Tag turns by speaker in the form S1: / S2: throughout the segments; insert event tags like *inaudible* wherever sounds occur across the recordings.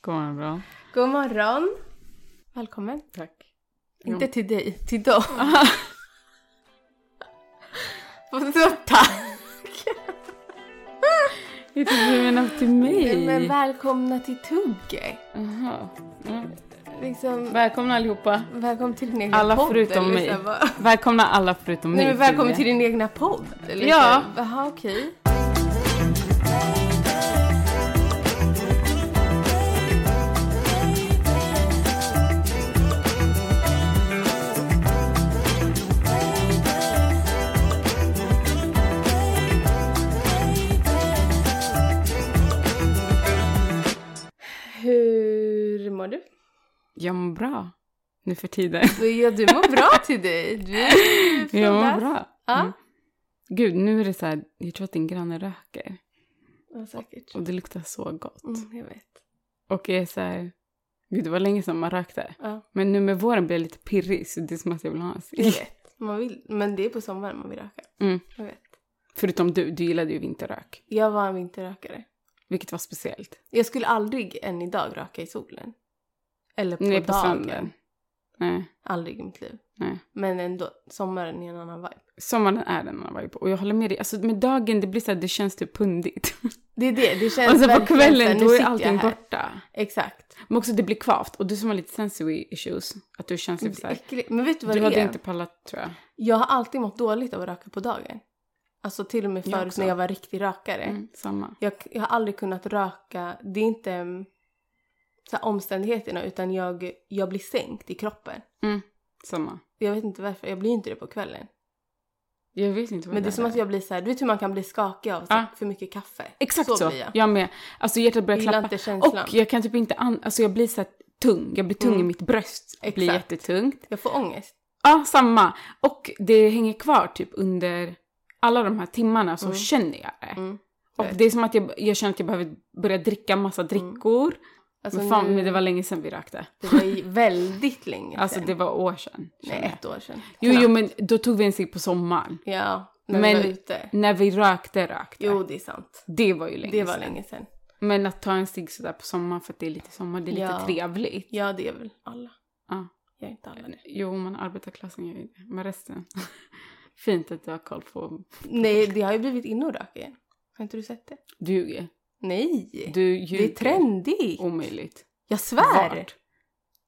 S1: God morgon bra.
S2: God morgon. Välkommen.
S1: Tack.
S2: Inte till dig, till dem. *laughs* Vadå tack?
S1: Jag trodde typ du menade till mig.
S2: Men välkomna till Tugge.
S1: Aha. Ja.
S2: Liksom,
S1: Mm. Välkomna allihopa.
S2: välkommen till din egna
S1: Alla
S2: podd.
S1: förutom
S2: eller
S1: mig.
S2: så här, vad-
S1: Välkomna alla förutom
S2: Nej
S1: mig.
S2: men välkommen
S1: Julia.
S2: till din egna podd. Eller
S1: Ja.
S2: så här, Jaha okej. Hur mår du?
S1: Jag mår bra. Nu för tiden. *laughs*
S2: Ja, du mår bra till dig. Du *laughs* är
S1: Jag mår
S2: frodas.
S1: bra.
S2: Ja.
S1: Mm. Gud, nu är det så här. Jag tror att din granne röker.
S2: Ja, säkert.
S1: Och det luktar så gott.
S2: Mm, jag vet.
S1: Och jag är så här. Gud, det var länge sedan man rökte. *laughs*
S2: Ja,
S1: Men nu med våren blir jag lite pirrig. Så det är som att jag vill ha en
S2: jag
S1: cigg.
S2: vet. Man vill, men det är på sommaren man vill röka.
S1: Mm.
S2: Jag vet.
S1: Förutom du. Du gillade ju vinterrök.
S2: Jag var en vinterrökare.
S1: Vilket var speciellt.
S2: Jag skulle aldrig än idag röka i solen. Eller på
S1: Nej, på
S2: dagen.
S1: stranden. Nej.
S2: Aldrig i mitt liv.
S1: Nej.
S2: Men ändå, sommaren är en annan vibe.
S1: Sommaren är den man varit på. Och jag håller med dig. Alltså med dagen, det blir så här, det känns typ
S2: *laughs*
S1: pundigt.
S2: Det är det, det
S1: *laughs*
S2: känns
S1: Och så på
S2: verkligen så
S1: kvällen,
S2: här, nu
S1: då är
S2: sitter jag
S1: allting Alltså,
S2: här.
S1: borta.
S2: Exakt.
S1: Men också det blir kvavt. Och du som har lite sensory issues, att du är känslig för
S2: Det är
S1: såhär.
S2: äckligt. Men vet du vad
S1: Du
S2: *laughs* det
S1: hade
S2: är?
S1: inte pallat tror jag.
S2: Jag har alltid mått dåligt av att röka på dagen. Alltså till och med
S1: Jag
S2: förut
S1: också.
S2: när jag var riktig rökare.
S1: Mm, samma.
S2: Jag, jag har aldrig kunnat röka. Det är inte mm, så här, omständigheterna utan jag, jag blir sänkt i kroppen.
S1: Samma.
S2: Jag vet inte varför. Jag blir inte det på kvällen.
S1: Jag vet inte vad
S2: Men det är som att jag blir så här, du vet hur man kan bli skakig av så,
S1: Ja.
S2: för mycket kaffe?
S1: Exakt så.
S2: blir jag.
S1: jag. med. Alltså hjärtat börjar
S2: Jag gillar
S1: klappa.
S2: inte känslan.
S1: Och jag kan typ inte an- Alltså jag blir såhär tung. Jag blir tung
S2: Mm.
S1: i mitt bröst. Det blir
S2: Exakt.
S1: jättetungt.
S2: Jag får ångest.
S1: Ja, samma. Och det hänger kvar typ under alla de här timmarna så
S2: Mm.
S1: känner jag det.
S2: Mm.
S1: Och
S2: Vet.
S1: det är som att jag, jag känner att jag behöver börja dricka massa drickor.
S2: Mm. Alltså,
S1: men fan,
S2: nu-
S1: men det var länge sedan vi rökte.
S2: Det var ju väldigt länge sedan.
S1: Alltså det var år sedan.
S2: Nej,
S1: känner jag.
S2: ett år sedan.
S1: Jo,
S2: Knappt.
S1: jo, men då tog vi en cigg på sommaren.
S2: Ja, när
S1: Men-
S2: vi var ute.
S1: När vi rökte, rökte.
S2: Jo, det är sant.
S1: Det var ju länge
S2: Det var
S1: sedan.
S2: länge sedan.
S1: Men att ta en cigg sådär på sommaren för att det är lite sommar, det är lite
S2: Ja.
S1: trevligt.
S2: Ja, det är väl alla.
S1: Ja.
S2: Jag är inte alla nu.
S1: Jo, man arbetarklassen gör ju det. Men resten. *laughs* Fint att du har koll på...
S2: Nej, det har ju blivit inne och röka igen. Har inte du sett det?
S1: Du ljuger.
S2: Nej!
S1: Du
S2: det
S1: ljuger.
S2: är trendigt!
S1: Omöjligt.
S2: Jag svär!
S1: Vart?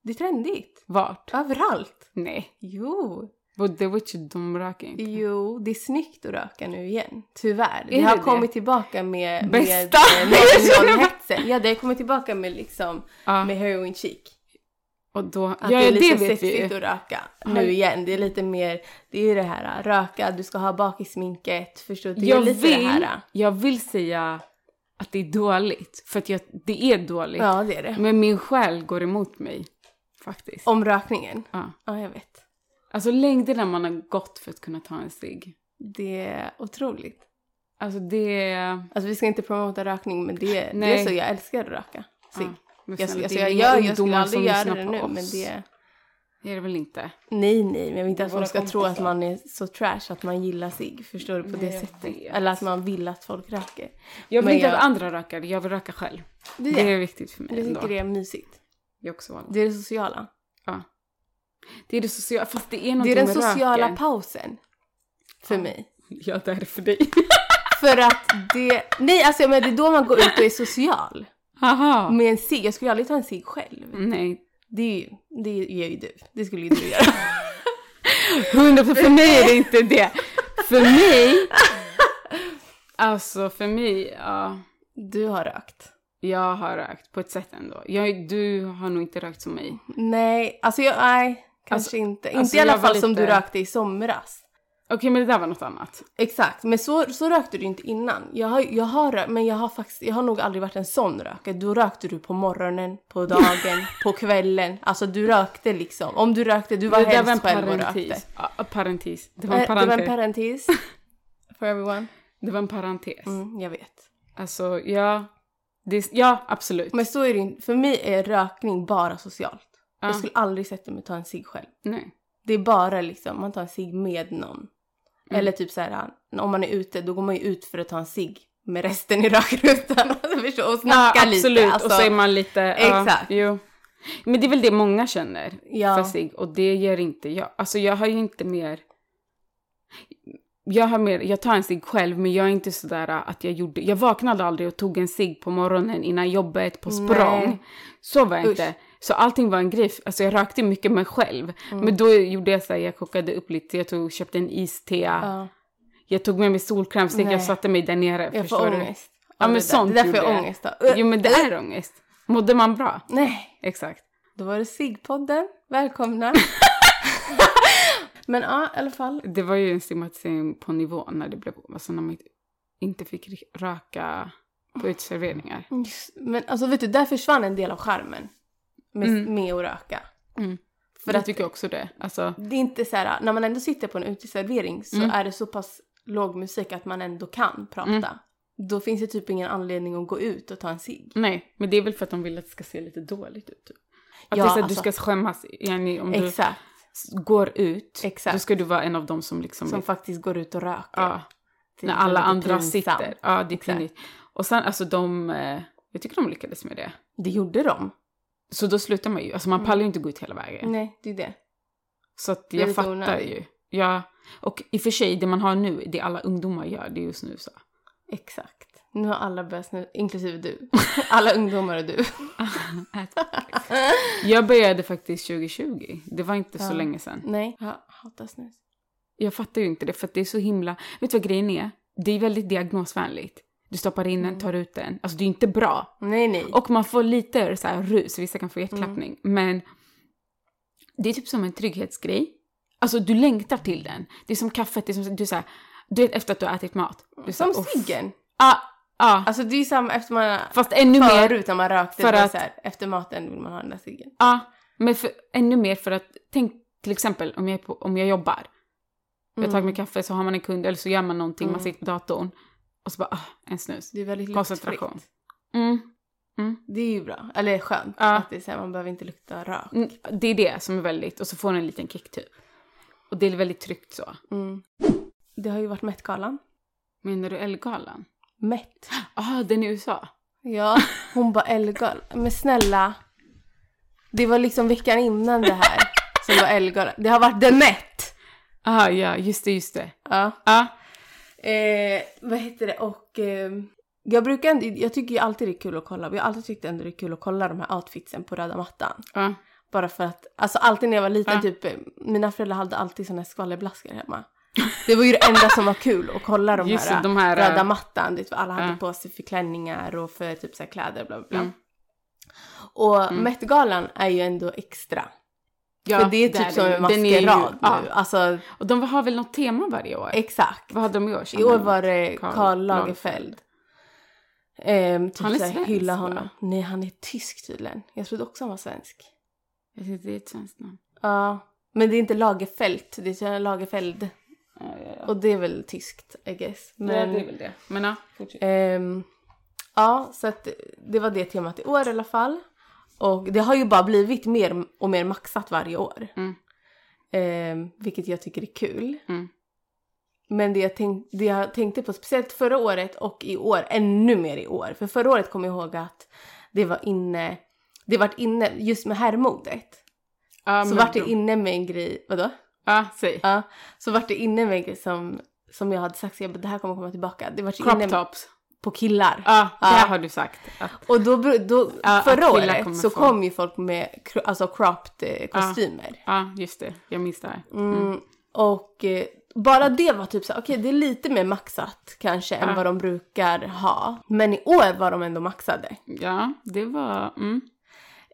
S2: Det är trendigt.
S1: Vart?
S2: Överallt.
S1: Nej.
S2: Jo.
S1: But The Witch, de röker inte.
S2: Jo, det är snyggt att röka nu igen. Tyvärr. det
S1: det
S2: har
S1: det?
S2: kommit tillbaka med...
S1: Bästa!
S2: Med,
S1: Nej, *laughs* jag
S2: med,
S1: skojar bara.
S2: hetsen. Ja, det har kommit tillbaka med liksom...
S1: Ja.
S2: Med heroin chic.
S1: Och då... Ja,
S2: Att det är
S1: det,
S2: lite
S1: vet vi
S2: sexigt
S1: ju.
S2: att röka
S1: Har-
S2: nu igen. Det är lite mer... Det är ju det här röka, du ska ha bak i sminket. Förstår du? Det är
S1: Jag
S2: lite det
S1: vill,
S2: här.
S1: jag vill säga att det är dåligt. För att jag, det är dåligt.
S2: Ja, det är det.
S1: Men min själ går emot mig. Faktiskt.
S2: Om rökningen.
S1: Ja.
S2: Ja, jag vet.
S1: Alltså längderna man har gått för att kunna ta en cigg.
S2: Det är otroligt.
S1: Alltså det...
S2: Alltså vi ska inte promota rökning, men det, det
S1: Nej.
S2: är så jag älskar att röka.
S1: Ja,
S2: cigg.
S1: men
S2: Jag,
S1: snälla,
S2: alltså,
S1: det är
S2: jag,
S1: inga
S2: gör, jag skulle
S1: ungdomar
S2: aldrig
S1: som
S2: göra
S1: lyssnar
S2: det
S1: på
S2: nu,
S1: oss.
S2: men det...
S1: Det är det väl inte?
S2: Nej, nej, men jag vill inte att
S1: Våra
S2: folk ska tro att
S1: kompisar.
S2: man är så trash att man gillar sig. Förstår du? På
S1: Nej,
S2: det
S1: jag
S2: sättet.
S1: vet.
S2: Eller att man vill att folk röker.
S1: Jag vill
S2: Men
S1: inte
S2: jag-
S1: att andra rökar, jag vill röka själv.
S2: Det,
S1: Det,
S2: är det.
S1: är viktigt för mig
S2: Du
S1: ändå.
S2: tycker det är mysigt.
S1: Jag också valde.
S2: Det är det sociala.
S1: Ja. Det är det sociala, fast det är
S2: Det är
S1: någonting
S2: den
S1: med
S2: sociala
S1: röken.
S2: pausen. För mig.
S1: Ja, det är det för
S2: *laughs*
S1: dig.
S2: För att det... Nej, alltså men det är då man går ut och är social.
S1: Haha.
S2: Med en cigg. Jag skulle aldrig ta en cigg själv.
S1: Nej.
S2: Det, är ju, det gör ju du. Det skulle ju du göra.
S1: Hundra för mig är det inte det. För mig... *laughs* Alltså, för mig, ja.
S2: Du har rökt.
S1: Jag har rökt på ett sätt ändå. Jag, du har nog inte rökt som mig.
S2: Nej, alltså jag... Nej, kanske
S1: Alltså-
S2: inte.
S1: alltså,
S2: inte i alla
S1: jag var
S2: fall som du
S1: lite-
S2: rökte i somras.
S1: Okej, men det där var något annat.
S2: Exakt, men så, så rökte du inte innan. Jag har, jag har, rö- men jag har, faktiskt, jag har nog aldrig varit en sån rökare. Då rökte du på morgonen,
S1: *laughs*
S2: på dagen, på kvällen. Alltså du rökte liksom. Om du rökte, du var
S1: det där
S2: helst
S1: var en
S2: själv och rökte.
S1: parentis. Ja, ja, parentis. Det var
S2: Eh,
S1: en
S2: Det var en
S1: parentes.
S2: parentis.
S1: *laughs*
S2: For everyone.
S1: Det var en parentes.
S2: Mm, jag vet.
S1: Alltså, ja. Det, ja, absolut.
S2: Men så är det inte. För mig är rökning bara socialt.
S1: Ja.
S2: Jag skulle aldrig sätta mig och ta en cigg själv.
S1: Nej.
S2: Det är bara liksom, man tar en cigg med någon.
S1: Mm.
S2: Eller typ så här, om man är ute, då går man ju ut för att ta en cigg med resten i *laughs* rökrutan alltså, förstå, och
S1: Ja,
S2: snacka
S1: absolut.
S2: lite. Alltså,
S1: Och så är man lite... ja,
S2: Exakt.
S1: jo. Men det är väl det många känner
S2: Ja.
S1: för sig och det gör inte jag. Alltså jag har ju inte mer... Jag, har mer, jag tar en cigg själv men jag är inte sådär äh, att jag gjorde... Jag vaknade aldrig och tog en cigg på morgonen innan jobbet på språng.
S2: Nej.
S1: Så var jag
S2: Usch.
S1: inte. Så allting var en grej. Alltså jag rökte mycket mig själv.
S2: Mm.
S1: Men då gjorde jag så här, jag kokade upp lite, jag tog, köpte en iste.
S2: ja,
S1: Jag tog med mig solkräm, så gick jag
S2: Nej.
S1: och satte mig där nere.
S2: jag
S1: förstår
S2: får
S1: du?
S2: ångest.
S1: Ja,
S2: av det
S1: men
S2: där.
S1: sånt
S2: Det är därför jag
S1: gjorde
S2: har
S1: jag.
S2: ångest. Då.
S1: Jo men det är ångest. Mådde man bra?
S2: Nej,
S1: Exakt.
S2: då var det SIG-podden.
S1: *laughs*
S2: Välkomna. men ja, i alla fall.
S1: Det var ju en stigmatisering på nivå när det blev, alltså när man inte- inte fick ri- röka på uteserveringar.
S2: Just- Men alltså vet du, där försvann en del av charmen med,
S1: Mm.
S2: med att röka.
S1: För jag tycker också det. Alltså,
S2: Det är inte så här, när man ändå sitter på en uteservering så
S1: Mm.
S2: är det så pass låg musik att man ändå kan prata.
S1: Mm.
S2: Då finns det typ ingen anledning att gå ut och ta en cigg.
S1: nej, men det är väl för att de vill att det ska se lite dåligt ut. Typ. Att
S2: Ja,
S1: det är så att
S2: alltså-
S1: du ska skämmas, yani, om du
S2: Exakt.
S1: s- går ut,
S2: Exakt.
S1: då ska du vara en av dem som liksom...
S2: Som faktiskt går ut och röker.
S1: ja, typ
S2: Det är
S1: när
S2: lite
S1: alla andra
S2: pinsamt.
S1: sitter. Ja, det är
S2: Exakt.
S1: pinigt. Och sen, alltså de... eh, Jag tycker de lyckades med det.
S2: Det gjorde de.
S1: Så då slutar man ju, alltså man pallar ju inte gå ut hela vägen.
S2: Nej, det är det.
S1: Så att
S2: Det är
S1: jag
S2: lite
S1: fattar
S2: onödigt.
S1: ju. Ja. Och i och för sig, det man har nu, det alla ungdomar gör, det är ju att
S2: *laughs*
S1: snusa.
S2: Exakt. Nu har alla börjat snusa, inklusive du. *laughs* Alla ungdomar och du.
S1: jag började faktiskt 2020. Det var inte så
S2: Ja.
S1: länge sedan.
S2: Nej, jag hatar snus.
S1: Jag fattar ju inte det, för att det är så himla... Vet du vad grejen är? Det är väldigt diagnosvänligt. Du stoppar in
S2: Mm.
S1: den, tar ut den. Alltså det är inte bra.
S2: Nej, nej.
S1: Och man får lite så här rus, vissa kan få hjärtklappning.
S2: Mm.
S1: Men det är typ som en trygghetsgrej. Alltså du längtar till den. Det är som kaffet, det är som du så här, du vet efter att du har ätit mat. Du är så
S2: som
S1: här, Ah, "Åh,
S2: ciggen.
S1: Ja, ja.
S2: Alltså det är ju samma efter man...
S1: Fast ännu mer,
S2: Förut när man rökte,
S1: För
S2: det var
S1: att-
S2: så här, efter maten vill man ha den där ciggen.
S1: ja, men för, ännu mer för att tänk till exempel om jag, är på, om jag jobbar. Jag tar
S2: Mm.
S1: med kaffe så har man en kund eller så gör man någonting,
S2: Mm.
S1: man sitter på datorn och så bara ah, en snus.
S2: Det är väldigt
S1: Koncentration.
S2: luktfritt.
S1: Mm.
S2: Det är ju bra. Eller skönt.
S1: Ja.
S2: Att det är så här, man behöver inte lukta rök.
S1: Mm, Det är det som är väldigt, och så får den en liten kick typ. Och det är väldigt tryggt så.
S2: Mm. Det har ju varit Met-galan.
S1: Menar du Ellegalan?
S2: Met.
S1: Ah, den i USA?
S2: Ja, hon bara Ellegalan. Men snälla. Det var liksom veckan innan det här som var Ellegalan. Det har varit The Met!
S1: Ah, ja, just det, just det.
S2: Ja.
S1: Ah,
S2: Eh, vad heter det? Och eh, jag brukar ändå- jag tycker ju alltid det är kul att kolla. Vi har alltid tyckt ändå det är kul att kolla de här outfitsen på röda mattan.
S1: ah.
S2: Bara för att, alltså alltid när jag var liten,
S1: Ja.
S2: typ, eh, mina föräldrar hade alltid såna här skvallerblaskor hemma. Det var ju det enda som var kul att kolla de
S1: Just
S2: här,
S1: det, de här, eh,
S2: röda mattan, dit alla hade
S1: ja.
S2: på sig för klänningar och för typ så här kläder bla bla bla.
S1: Mm.
S2: Och Met-galan är ju ändå extra.
S1: Ja,
S2: för det är typ som en
S1: den är ju-
S2: maskerad
S1: ja.
S2: nu. Alltså
S1: Och de har väl något tema varje år?
S2: exakt.
S1: Vad hade de i år?
S2: I år var det
S1: Karl
S2: Karl
S1: Lagerfeld.
S2: Lagerfeld. Ehm, typ
S1: Han är
S2: så här,
S1: svensk,
S2: hylla
S1: va?
S2: honom. Nej, han är tysk tydligen. Jag trodde också han var svensk.
S1: Jag tyckte det är ett svenskt namn.
S2: Ja, men det är inte Lagerfeld, det är så här Lagerfeld.
S1: Ja, ja, ja.
S2: Och det är väl tyskt, I guess. Men,
S1: väl det. Men ja, fortsätt.
S2: ehm, ja, så att det var det temat i år i alla fall. Och det har ju bara blivit mer och mer maxat varje år.
S1: Mm.
S2: Ehm, vilket jag tycker är kul.
S1: Mm.
S2: Men det jag, tänk, det jag tänkte på, speciellt förra året och i år, ännu mer i år. För förra året kom jag ihåg att det var inne, det vart inne just med herrmodet.
S1: Ja,
S2: så
S1: men
S2: vart det
S1: de-
S2: inne med en grej, vadå?
S1: Ja, säg.
S2: Ja, så vart det inne med en grej som, som jag hade sagt, så jag bara, det här kommer komma tillbaka. Det vart ju inne
S1: Crop tops.
S2: på killar.
S1: Ja, det
S2: Ja.
S1: här har du sagt. Att,
S2: Och då, bero- då
S1: Ja,
S2: förra
S1: att killar
S2: året
S1: kommer
S2: så
S1: få-
S2: kom ju folk med kro- alltså cropped eh, kostymer.
S1: ja, just det. Jag minns det här.
S2: Mm. Och eh, bara det var typ så här, okej det är lite mer maxat kanske än
S1: Ja.
S2: vad de brukar ha. Men i år var de ändå maxade.
S1: Ja, det var... Mm.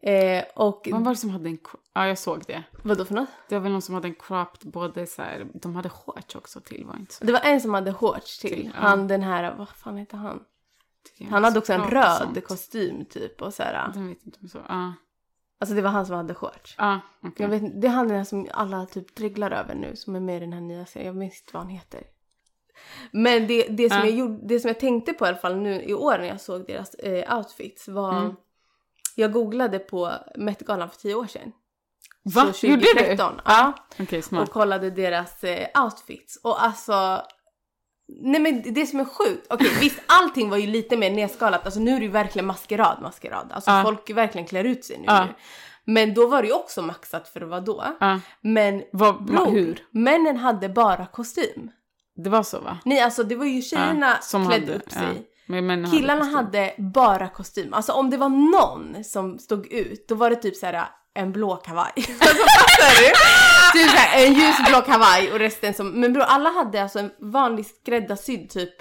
S2: Eh, och
S1: Vad var det som hade en... cro- Ja, jag såg det.
S2: vadå för något?
S1: Det var väl någon som hade en cropped både så här... De hade shorts också till, var det inte så?
S2: Det var en som hade shorts till.
S1: Till, ja.
S2: Han den här, vad fan heter han? Han hade också en
S1: Crop
S2: röd
S1: sånt. Mm.
S2: kostym typ och så här.
S1: Den vet inte om så. Ja,
S2: Alltså det var han som hade shorts.
S1: ja okej.
S2: Jag vet inte, det är han den här som alla typ dreglar över nu som är med i den här nya serien. Jag minns inte vad han heter. Men det, det, som
S1: Ja.
S2: jag gjorde, det som jag tänkte på i alla fall nu i år när jag såg deras eh, outfits var...
S1: Mm.
S2: Jag googlade på Met-galan för tio år sedan.
S1: Va?
S2: Så
S1: Gjorde du?
S2: 2013, Ja.
S1: Okej,
S2: Och
S1: smart.
S2: kollade deras eh, outfits. Och alltså... Nej men det som är sjukt,
S1: *laughs*
S2: okej visst allting var ju lite mer nedskalat, alltså nu är det ju verkligen maskerad, maskerad. Alltså
S1: Ja.
S2: folk verkligen klär ut sig nu.
S1: Ja.
S2: Men då var det ju också maxat för vad då?
S1: Ja.
S2: Men
S1: Vad,
S2: bror,
S1: ma, hur?
S2: männen hade bara kostym.
S1: Det var så va?
S2: Nej alltså det var ju tjejerna
S1: Ja, som
S2: klädde
S1: hade-
S2: upp sig.
S1: ja. Men männen
S2: Killarna
S1: kostym.
S2: hade bara kostym. Alltså om det var någon som stod ut, då var det typ så här en blå kavaj. *laughs* alltså fattar du? Typ så här, en ljusblå kavaj och resten som... Men bror, alla hade alltså en vanlig skräddarsydd typ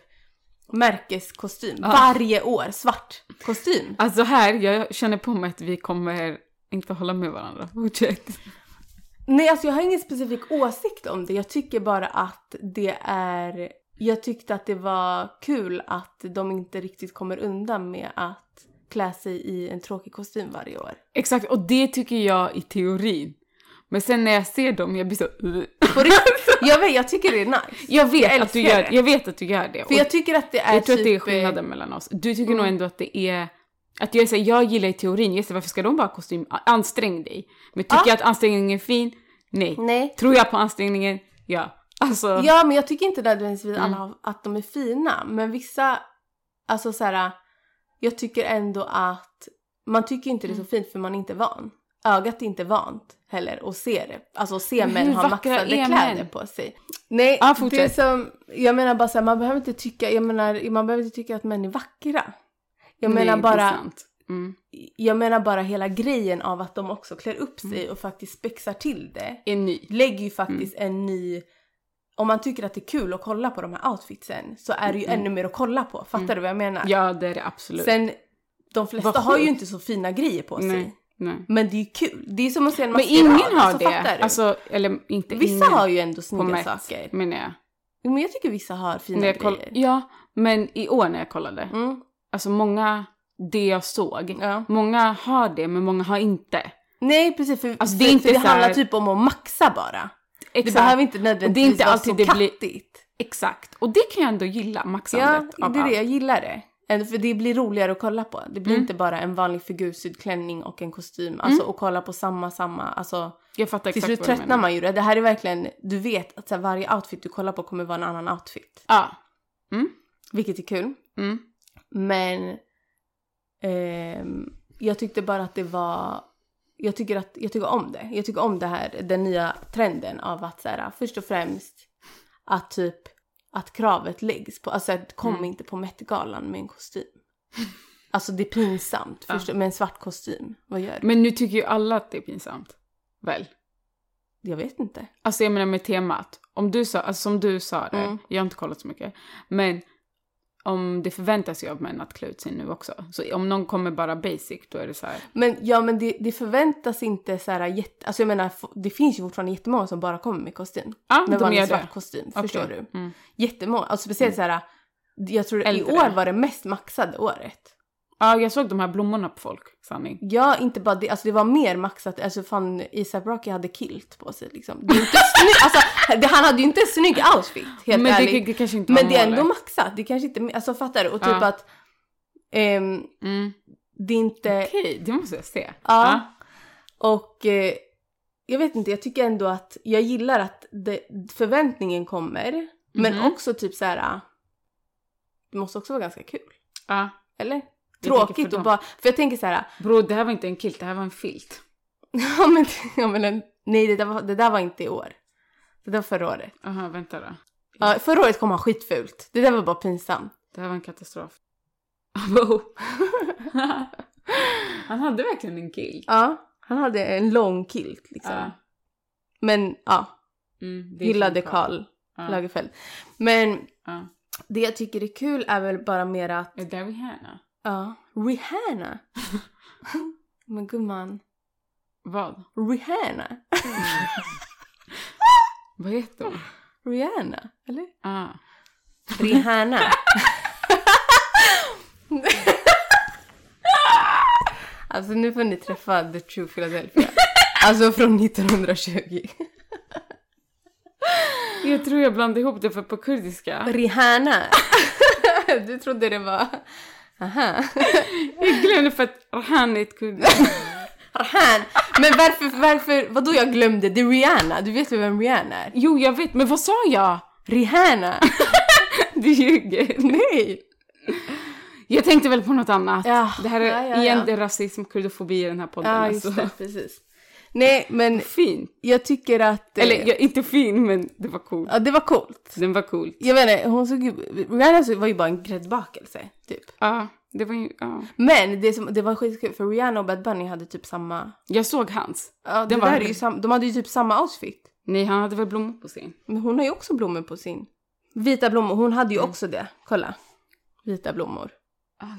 S2: märkeskostym. Varje år, svart kostym.
S1: Alltså här, jag känner på mig att vi kommer inte hålla med varandra. Fortsätt.
S2: Nej, alltså jag har ingen specifik åsikt om det. Jag tycker bara att det är... Jag tyckte att det var kul att de inte riktigt kommer undan med att klä sig i en tråkig kostym varje år.
S1: Exakt, och det tycker jag i teorin. Men sen när jag ser dem, jag blir så... uh.
S2: På
S1: *laughs*
S2: riktigt. Jag vet, jag tycker det är nice.
S1: Jag vet,
S2: Jag
S1: att, du
S2: älskar
S1: gör,
S2: det.
S1: jag vet att du gör det. Och
S2: För jag tycker att det är
S1: jag tror
S2: typ...
S1: att det är Mm.
S2: eh,
S1: skillnaden mellan oss. Du tycker nog ändå att det är... Att jag, är så här, jag gillar i teorin, just det, varför ska de bara ha kostym? A- Ansträng dig. Men tycker
S2: Ja.
S1: jag att ansträngningen är fin? Nej.
S2: Nej.
S1: Tror jag på ansträngningen? Ja. Alltså, Mm.
S2: Ja, men jag tycker inte nödvändigtvis alla har- att de är fina. Men vissa, alltså så här, jag tycker ändå att man tycker inte det
S1: Mm.
S2: är så fint för man är inte van. Ögat är inte vant heller och ser det. Alltså se
S1: Men
S2: män
S1: hur
S2: ha
S1: vackra
S2: maxade
S1: är
S2: kläder
S1: män?
S2: på sig. Nej,
S1: Ja,
S2: det är
S1: fortsätt.
S2: som, jag menar bara så här, man behöver inte tycka, jag menar, man behöver inte tycka att män är vackra. Jag
S1: nej,
S2: menar
S1: det är
S2: bara,
S1: sant. Mm.
S2: jag menar bara hela grejen av att de också klär upp sig
S1: Mm.
S2: och faktiskt spexar till det
S1: Är ny.
S2: lägger ju faktiskt
S1: Mm.
S2: en ny... Om man tycker att det är kul att kolla på de här outfitsen så är det ju ännu mer att kolla på. Fattar du vad jag menar?
S1: Mm. Ja, det är det absolut.
S2: Sen, de flesta
S1: Vad
S2: har ju
S1: sjukt.
S2: inte så fina grejer på sig.
S1: nej, nej.
S2: Men det är ju kul. Det är som att se en
S1: Men
S2: maskerad.
S1: ingen har
S2: alltså, Fattar
S1: det.
S2: du?
S1: Alltså, eller inte
S2: vissa
S1: ingen
S2: har ju ändå
S1: på
S2: snygga
S1: Met,
S2: saker.
S1: menar jag.
S2: Jo, Men jag tycker vissa har fina
S1: När jag koll-
S2: grejer.
S1: ja, men i år när jag kollade,
S2: Mm.
S1: alltså många, det jag såg,
S2: Ja.
S1: många har det men många har inte.
S2: Nej precis, för,
S1: Alltså, det
S2: för, det,
S1: är
S2: för
S1: inte
S2: det
S1: så här-
S2: handlar typ om att maxa bara. Det
S1: Exakt.
S2: behöver inte nödvändigtvis
S1: inte
S2: vara
S1: alltid
S2: så
S1: det blir-
S2: kattigt.
S1: Exakt. Och det kan jag ändå gilla,
S2: Ja,
S1: maxandet av
S2: det är det.
S1: allt. Mm.
S2: Jag gillar det. Ändå, För det blir roligare att kolla på. Det blir inte bara en vanlig figursydd klänning och en kostym. Alltså och kolla på samma, samma. Alltså,
S1: Jag fattar
S2: till
S1: Mm. exakt
S2: slut
S1: vad du
S2: tröttnar
S1: menar.
S2: man ju. Det här är verkligen, du vet att så här, varje outfit du kollar på kommer vara en annan outfit.
S1: Ja.
S2: Vilket är kul.
S1: Mm.
S2: Men ehm, jag tyckte bara att det var... Jag tycker, att, jag tycker om det. Jag tycker om det här, den nya trenden av att så här, först och främst att typ att kravet läggs på, alltså att kom
S1: Mm.
S2: inte på Met-galan med en kostym. Alltså det är pinsamt, först, med en svart kostym. Vad gör du?
S1: Men nu tycker ju alla att det är pinsamt. Väl?
S2: Jag vet inte.
S1: Alltså jag menar med temat. Om du sa, alltså som du sa det,
S2: Mm.
S1: jag har inte kollat så mycket. Men om det förväntas ju av män att klä ut sig nu också. Så om någon kommer bara basic då är det så här.
S2: Men ja, men det, det förväntas inte så här jätte... Alltså jag menar, f- det finns ju fortfarande jättemånga som bara kommer med kostym.
S1: Ja,
S2: Med
S1: "Ah, de
S2: vanlig
S1: gör
S2: svart
S1: det.
S2: kostym,
S1: Okej.
S2: förstår du?
S1: Mm.
S2: Jättemånga, alltså speciellt så här. Jag tror i
S1: Äldre.
S2: år var det mest maxade året.
S1: Ja, jag såg de här blommorna på folk, sanning.
S2: Ja, inte bara det, alltså det var mer maxat, alltså fan ASAP Rocky hade kilt på sig liksom. Det
S1: *laughs*
S2: är inte snygg, alltså det, han hade ju inte en snygg outfit
S1: men
S2: helt
S1: det,
S2: ärligt.
S1: det kanske inte
S2: men
S1: var
S2: det är ändå
S1: målet.
S2: maxat, det kanske inte, alltså fattar du? Och typ
S1: Ja.
S2: att ehm,
S1: Mm.
S2: det är inte,
S1: Okej, det måste jag se.
S2: Ja.
S1: Ja.
S2: och eh, jag vet inte, jag tycker ändå att jag gillar att det, förväntningen kommer, men
S1: Mhm.
S2: också typ så här. det måste också vara ganska kul,
S1: ja.
S2: eller?
S1: tänker för
S2: Tråkigt och
S1: dem.
S2: bara, för jag tänker så här. *laughs*
S1: Bro, det här var inte en kilt, det här var en filt.
S2: Ja men, ja, men en, nej det där, var, det där var inte i år. Det där var förra året.
S1: Aha, vänta då.
S2: Ja, förra året kom han skitfult. Det där var bara pinsamt.
S1: Det här var en katastrof. *laughs* Wow. *laughs* Han hade verkligen en kilt.
S2: Ja, han hade en lång kilt liksom.
S1: Ja.
S2: Men ja,
S1: Mm, det är
S2: gillade
S1: som
S2: Karl
S1: Ja.
S2: Lagerfeld. Men
S1: Ja.
S2: det jag tycker är kul är väl bara mer att,
S1: Är det Rihanna?
S2: ja,
S1: *laughs*
S2: Rihanna. men gumman,
S1: Vad?
S2: Rihanna.
S1: Vad heter hon?
S2: Rihanna, eller?
S1: Ah.
S2: Rihanna. *laughs* alltså nu får ni träffa The True Philadelphia. Alltså från 1920.
S1: Jag tror jag blandade ihop det för på
S2: *laughs*
S1: kurdiska.
S2: Rihanna. Du trodde det var... Aha.
S1: Jag glömde för att Rahan är ett
S2: *laughs*
S1: kurdiskt.
S2: Rihanna. Men varför, varför, vadå jag glömde? Det är Rihanna. Du vet ju vem Rihanna är?
S1: Jo, jag vet, men vad sa jag?
S2: Rihanna. *laughs*
S1: Det du ljuger.
S2: Nej!
S1: Jag tänkte väl på något annat.
S2: Ja,
S1: Det här är
S2: ja, ja,
S1: igen
S2: ja.
S1: det är rasism, kurdofobi i den här podden.
S2: Ja,
S1: alltså.
S2: just det. Precis. Nej,
S1: *laughs*
S2: men
S1: Fin.
S2: jag tycker att... eh,
S1: Eller ja, inte fin, men det var coolt.
S2: ja, det var coolt.
S1: Den var cool.
S2: Jag vet inte, hon såg ju... Rihanna såg- var ju bara en gräddbakelse, typ.
S1: Ja, det var ju, ja.
S2: Men det, som, det var skitkul för Rihanna och Bad Bunny hade typ samma...
S1: Jag såg hans.
S2: Ja, det
S1: Den var-
S2: där är ju sam, de hade ju typ samma outfit.
S1: Nej, han hade väl blommor på sin.
S2: Men hon har ju också blommor på sin. Vita blommor, hon
S1: Mm.
S2: hade ju också det. Kolla. Vita blommor.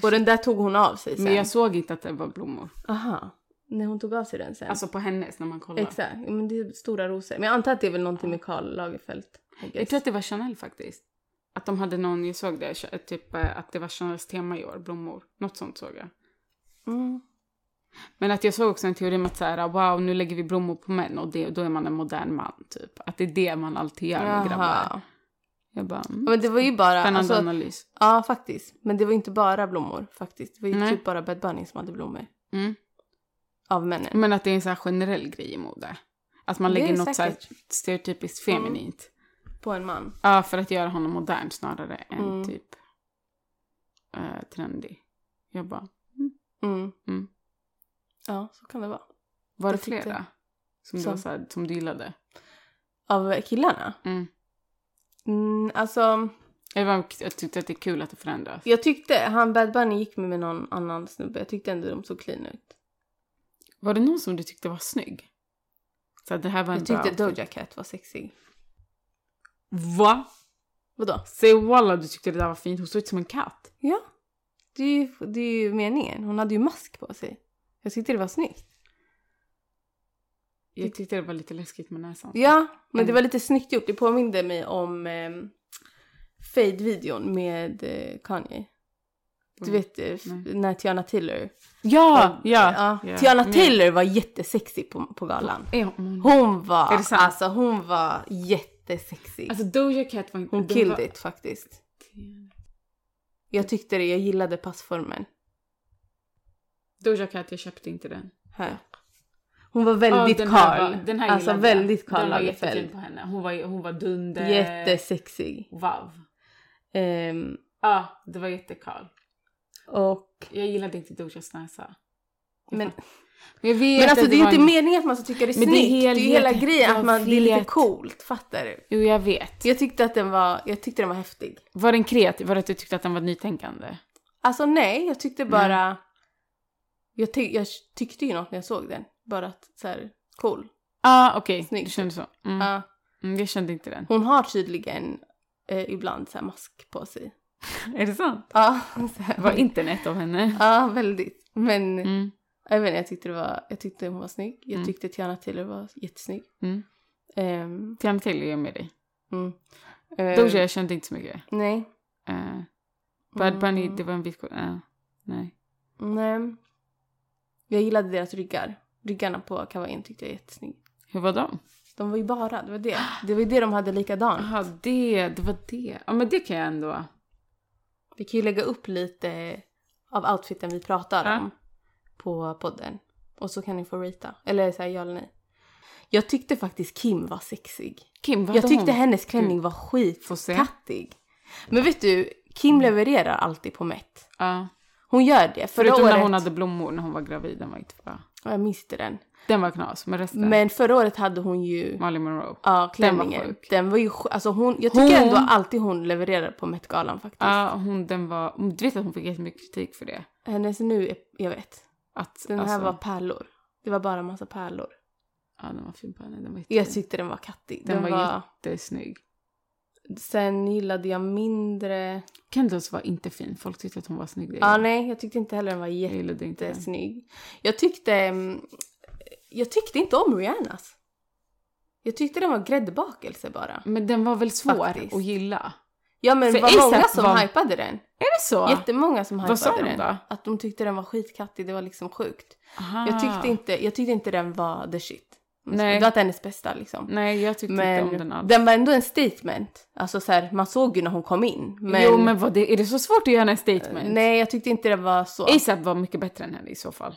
S2: Och den där tog hon av sig sen.
S1: Ah, Men jag såg inte att det var blommor.
S2: Aha. När hon tog av sig den sen.
S1: Alltså på hennes när man kollar.
S2: Exakt. Ja, Men det är stora rosor. Men jag antar att det är väl någonting med Karl Lagerfeld. I guess.
S1: Jag tror att det var Chanel faktiskt. Att de hade någon, jag såg det, ch- typ eh, att det var Chanels tema i år, blommor. Något sånt såg jag.
S2: Mm.
S1: Men att jag såg också en teori om att så här, wow, nu lägger vi blommor på män och det, då är man en modern man typ. Att det är det man alltid gör med grabbar.
S2: Jaha.
S1: Jag bara,
S2: Ja,
S1: mm.
S2: Men det var ju bara...
S1: Spännande
S2: Alltså,
S1: analys.
S2: ja, faktiskt. Men det var inte bara blommor faktiskt. Det var ju
S1: Nej.
S2: typ bara Bad Bunny som hade blommor.
S1: Mm.
S2: Av männen.
S1: Men att det är en så här generell grej i mode. Att man
S2: Det
S1: lägger
S2: är Mm.
S1: något så här stereotypiskt feminint.
S2: På en man.
S1: Ja, för att göra honom modern snarare än
S2: Mm.
S1: typ eh, trendig. Jag bara,
S2: Mm.
S1: Mm.
S2: Ja, så kan det vara.
S1: var det
S2: Jag tyckte-
S1: flera som, Du
S2: Som-
S1: var så här, som du gillade?
S2: Av killarna?
S1: Mm.
S2: Mm, alltså,
S1: Eller var, jag tyckte att det är kul att det förändras.
S2: jag tyckte han Bad Bunny gick med, med någon annan snubbe. Jag tyckte ändå de såg clean ut.
S1: Var det någon som du tyckte var snygg? Så här, det här var en
S2: Jag tyckte
S1: bra
S2: Doja Cat var sexig.
S1: Va?
S2: Vadå?
S1: Säg walla du tyckte det där var fint. Hon såg ut som en katt.
S2: Ja. Det är, ju, det är ju meningen. Hon hade ju mask på sig. Jag tyckte det var snyggt.
S1: Jag tyckte det var lite läskigt med näsan.
S2: Ja, men det
S1: Mm.
S2: var lite snyggt gjort. Det påminde mig om eh, Fade-videon med eh, Kanye. Du
S1: Mm.
S2: vet eh, f-
S1: Nej.
S2: när Tiana Taylor...
S1: Ja! Ja! Mm.
S2: ja. Tiana
S1: Men-
S2: Taylor var jättesexig på, på galan.
S1: Är hon-
S2: Hon var,
S1: Är det sant?
S2: alltså hon var jättesexig.
S1: Alltså Doja Cat var inte...
S2: hon
S1: det
S2: killed
S1: var-
S2: it faktiskt. Jag tyckte det, jag gillade passformen.
S1: Doja Cat, jag köpte inte den.
S2: Här. Hon var väldigt
S1: Ja, den här
S2: Karl.
S1: var- den här
S2: Alltså
S1: gillade jag.
S2: väldigt Karl
S1: Den var jättefin
S2: Lagerfeld.
S1: på henne. Hon var, hon var dunder...
S2: Jättesexig.
S1: Wow.
S2: Ehm,
S1: Ja, det var jättekarl.
S2: och,
S1: Jag gillade inte Dojas näsa.
S2: men,
S1: Men, jag vet
S2: men alltså
S1: att
S2: det är ju
S1: var
S2: inte
S1: en-
S2: meningen att man ska tycka det är
S1: Men
S2: snyggt.
S1: det är
S2: Det är, ju hela
S1: helheten.
S2: grejen
S1: Jag
S2: att man, det är lite
S1: vet.
S2: coolt. Fattar du?
S1: Jo, jag vet.
S2: Jag tyckte att den var, jag tyckte den var häftig.
S1: Var den kreativ? Var det att du tyckte att den var nytänkande?
S2: Alltså nej, jag tyckte
S1: Mm.
S2: bara... Jag, ty- jag tyckte ju något när jag såg den. Bara att så här, cool.
S1: Ja, ah, okej.
S2: Snygg.
S1: Du kände så? Mm.
S2: Ja.
S1: Mm, jag kände inte den. *laughs*
S2: hon har tydligen eh, ibland så här mask på sig.
S1: Är det sant?
S2: Ja, *laughs* så
S1: Det
S2: här.
S1: var internet av henne.
S2: ja väldigt. Men
S1: Mm.
S2: jag vet inte, jag tyckte, det var, jag tyckte hon var snygg. Jag
S1: Mm.
S2: tyckte Tiana Taylor var jättesnygg.
S1: Mm.
S2: Ehm,
S1: Tian till är jag med dig.
S2: mm. Ehm,
S1: Doja, jag kände inte så mycket.
S2: Nej.
S1: Eh, Bad Bunny,
S2: Mm,
S1: det var en vit... Uh, nej.
S2: Nej. Jag gillade deras ryggar. Ryggarna på kavajen tyckte jag var jättesnygga.
S1: Hur var de?
S2: De var ju bara, det var det. Det var ju det de hade likadant.
S1: Jaha, det, det var det. Ja, men det kan jag ändå.
S2: Vi kan ju lägga upp lite av outfiten vi pratar
S1: Ja.
S2: om på podden. Och så kan ni få rita. Eller säga ja eller nej. Jag tyckte faktiskt Kim var sexig.
S1: Kim, vad
S2: jag
S1: hade
S2: tyckte
S1: hon?
S2: hennes klänning var
S1: Får se.
S2: skitkattig. Men vet du,
S1: Mm.
S2: Kim levererar alltid på Met.
S1: Ja.
S2: Hon gör det. Förra
S1: Förutom
S2: året,
S1: när hon hade blommor när hon var gravid, den var inte bra.
S2: Ja, Jag minns inte den.
S1: Den var knas, men resten.
S2: Men förra året hade hon ju...
S1: Marilyn Monroe. Ja,
S2: Ja,
S1: Den var
S2: klänningen. Den var,
S1: sjuk.
S2: ju sjuk. Alltså hon, jag tycker
S1: Hon-
S2: ändå alltid hon levererar på Met-galan faktiskt.
S1: hon, den var... Du vet att hon fick jättemycket kritik för det?
S2: Hennes nu, är, jag vet.
S1: Att,
S2: Den
S1: alltså,
S2: här var pärlor. Det var bara massa pärlor.
S1: Ja, den var fin på henne. Den var
S2: Jag
S1: jättefin.
S2: tyckte den var kattig.
S1: Mm. Den
S2: Den,
S1: var
S2: var,
S1: Jättesnygg.
S2: Sen gillade jag mindre...
S1: Kendalls var inte fin. Folk tyckte att hon var snygg.
S2: Ja, ah, nej, jag tyckte inte heller den var
S1: Jag gillade inte den.
S2: jättesnygg. Jag tyckte... mm, Jag tyckte inte om Rihannas. Jag tyckte den var gräddbakelse bara.
S1: Men den var väl svår
S2: Faktiskt.
S1: att gilla?
S2: Ja, men
S1: För
S2: det var många
S1: A$AP
S2: som
S1: var-
S2: hypade den.
S1: Är det så?
S2: Jättemånga som hypade
S1: Vad sa de
S2: den.
S1: då?
S2: Att de tyckte den var skitkattig, det var liksom sjukt.
S1: Aha.
S2: Jag, tyckte inte, jag tyckte inte den var the shit.
S1: Ah. Nej.
S2: Det var inte hennes bästa liksom.
S1: Nej, jag tyckte inte om
S2: Men
S1: den alls.
S2: den var ändå en statement. Alltså så här, man såg ju när hon kom in. Men,
S1: Jo, men vad det, är det så svårt att göra en statement?
S2: Nej, jag tyckte inte det var så.
S1: ASAP var mycket bättre än henne i så fall.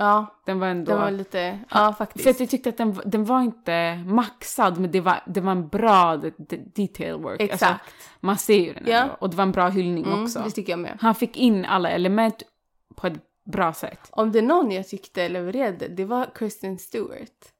S2: Ja,
S1: Den var ändå...
S2: det var lite... Ja, faktiskt.
S1: För typ, att jag tyckte att den, den var inte maxad, men det var, det var en bra d- d- detail work.
S2: Exakt.
S1: Alltså, man ser ju den
S2: Ja.
S1: ändå. Och det var en bra hyllning
S2: mm,
S1: också.
S2: Det tycker jag med.
S1: Han fick in alla element på ett bra sätt.
S2: Om det är någon jag tyckte levererade, det var Kristen Stewart.